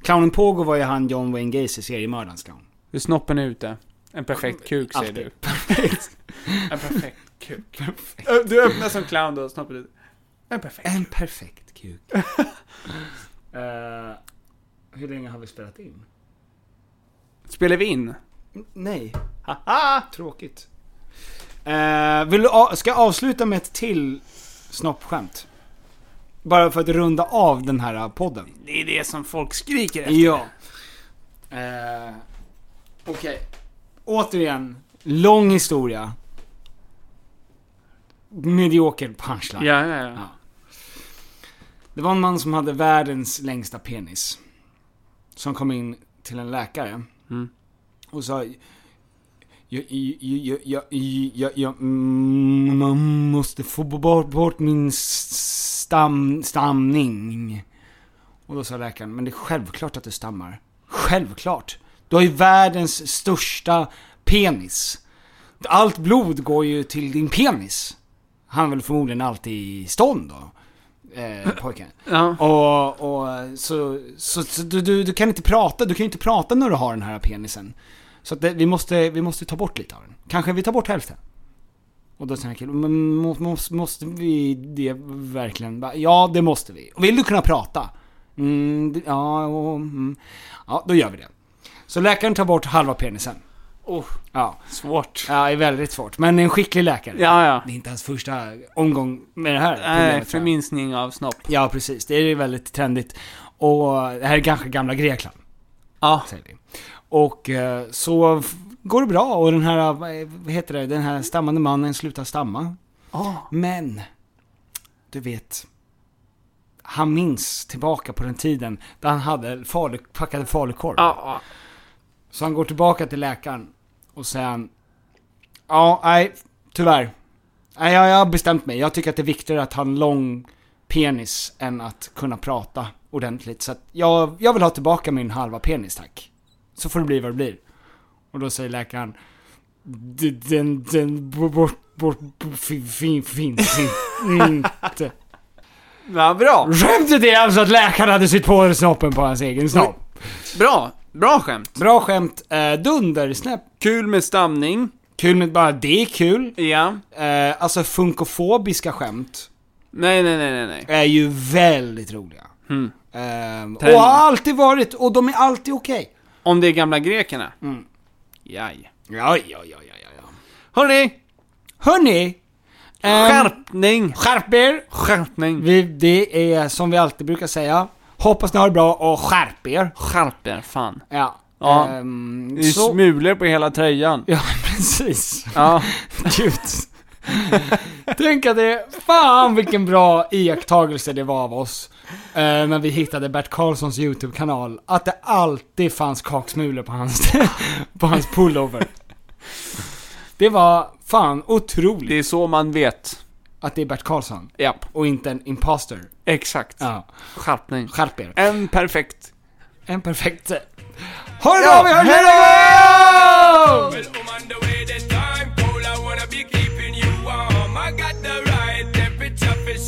B: Clownen Pogo var ju han John Wayne Gacy, seriemördarens clown.
A: Hur snoppen är ute. En perfekt kuk säger
B: Alltid.
A: du. En perfekt kuk. Ö, Du öppnar som clown då, snoppen ut. En perfekt.
B: En perfekt kuk. Eh, hur länge har vi spelat in?
A: Spelar vi in?
B: N- nej. Haha! Tråkigt. Eh, vill du a- ska jag avsluta med ett till snoppskämt? Bara för att runda av den här eh, podden.
A: Det är det som folk skriker efter.
B: Ja. Eh, Okej. Återigen, Lång historia. Medioker punchline.
A: Ja, ja, ja.
B: Det var en man som hade världens längsta penis. Som kom in till en läkare. Och sa... Jag, jag, jag, jag, jag, jag, mm, man måste få bort, bort min stam, stamning. Och då sa läkaren, men det är självklart att du stammar. Självklart. Du har ju världens största penis. Allt blod går ju till din penis. Han var väl förmodligen alltid i stånd då. Eh, pojken. Och, och så, så, så du, du, du kan inte prata, du kan ju inte prata när du har den här penisen. Så att det, vi, måste, vi måste ta bort lite av den. Kanske vi tar bort hälften. Och då tänker killen, men må, må, måste vi det verkligen? Bara, Ja, det måste vi. Vill du kunna prata? Mm, det- ja, och, mm. ja, då gör vi det. Så läkaren tar bort halva penisen.
A: Oh,
B: Ja.
A: Svårt.
B: Ja, det är väldigt svårt. Men en skicklig läkare.
A: Ja, ja.
B: Det är inte hans första omgång med det här
A: Nej,
B: problemet. tror jag.
A: förminskning av snopp.
B: Ja, precis. Det är väldigt trendigt. Och det här är kanske gamla Grekland.
A: Ja.
B: Säger vi. Och eh, så f- går det bra och den här, eh, vad heter det, den här stammande mannen slutar stamma. Men, du vet. Han minns tillbaka på den tiden där han hade falu, packade falukorv. Så han går tillbaka till läkaren och säger Ja, nej, tyvärr. Nej, jag, jag har bestämt mig. Jag tycker att det är viktigare att ha en lång penis än att kunna prata ordentligt. Så att jag, jag vill ha tillbaka min halva penis, tack. Så får det bli vad det blir. Och då säger läkaren "D- Den, den, bort, bort, bort fin, fin, finns inte.
A: Ja, bra.
B: Skämtet är alltså att läkaren hade sytt på snoppen på hans egen snopp.
A: Bra. Bra skämt.
B: Bra skämt, eh, dundersnäpp.
A: Kul med stamning.
B: Kul med bara, det är kul.
A: Ja.
B: Eh, alltså funkofobiska skämt
A: Nej, nej, nej, nej, nej.
B: är ju väldigt roliga.
A: Mm.
B: Ehm, och
A: Trend.
B: har alltid varit, och de är alltid okej.
A: Om det är gamla grekerna?
B: Mm.
A: Jaj.
B: Ja, ja, ja, ja, ja, ja.
A: Hörni!
B: Hörni! ehm,
A: Skärpning!
B: skärp er!
A: Skärpning!
B: Vi, det är som vi alltid brukar säga. Hoppas ni har det bra och skärp er.
A: Skärp er, fan.
B: Ja.
A: Ja.
B: Ehm,
A: Det är
B: så-
A: smulor på hela tröjan.
B: Ja, precis.
A: Ja.
B: Gud. Tänk att det, fan vilken bra iakttagelse det var av oss. eh, när vi hittade Bert Karlssons YouTube-kanal. Att det alltid fanns kaksmulor på hans, på hans pullover. Det var fan
A: Det
B: otroligt
A: är så man vet.
B: att det är Bert Karlsson
A: Japp.
B: och inte en imposter.
A: Exakt.
B: Ja,
A: Skärpning.
B: skärp er.
A: En perfekt.
B: En perfekt... Ha det bra, vi hörs nästa gång!
I: I'm on the way this time, cool. I wanna be keeping you warm. I got the right temperature for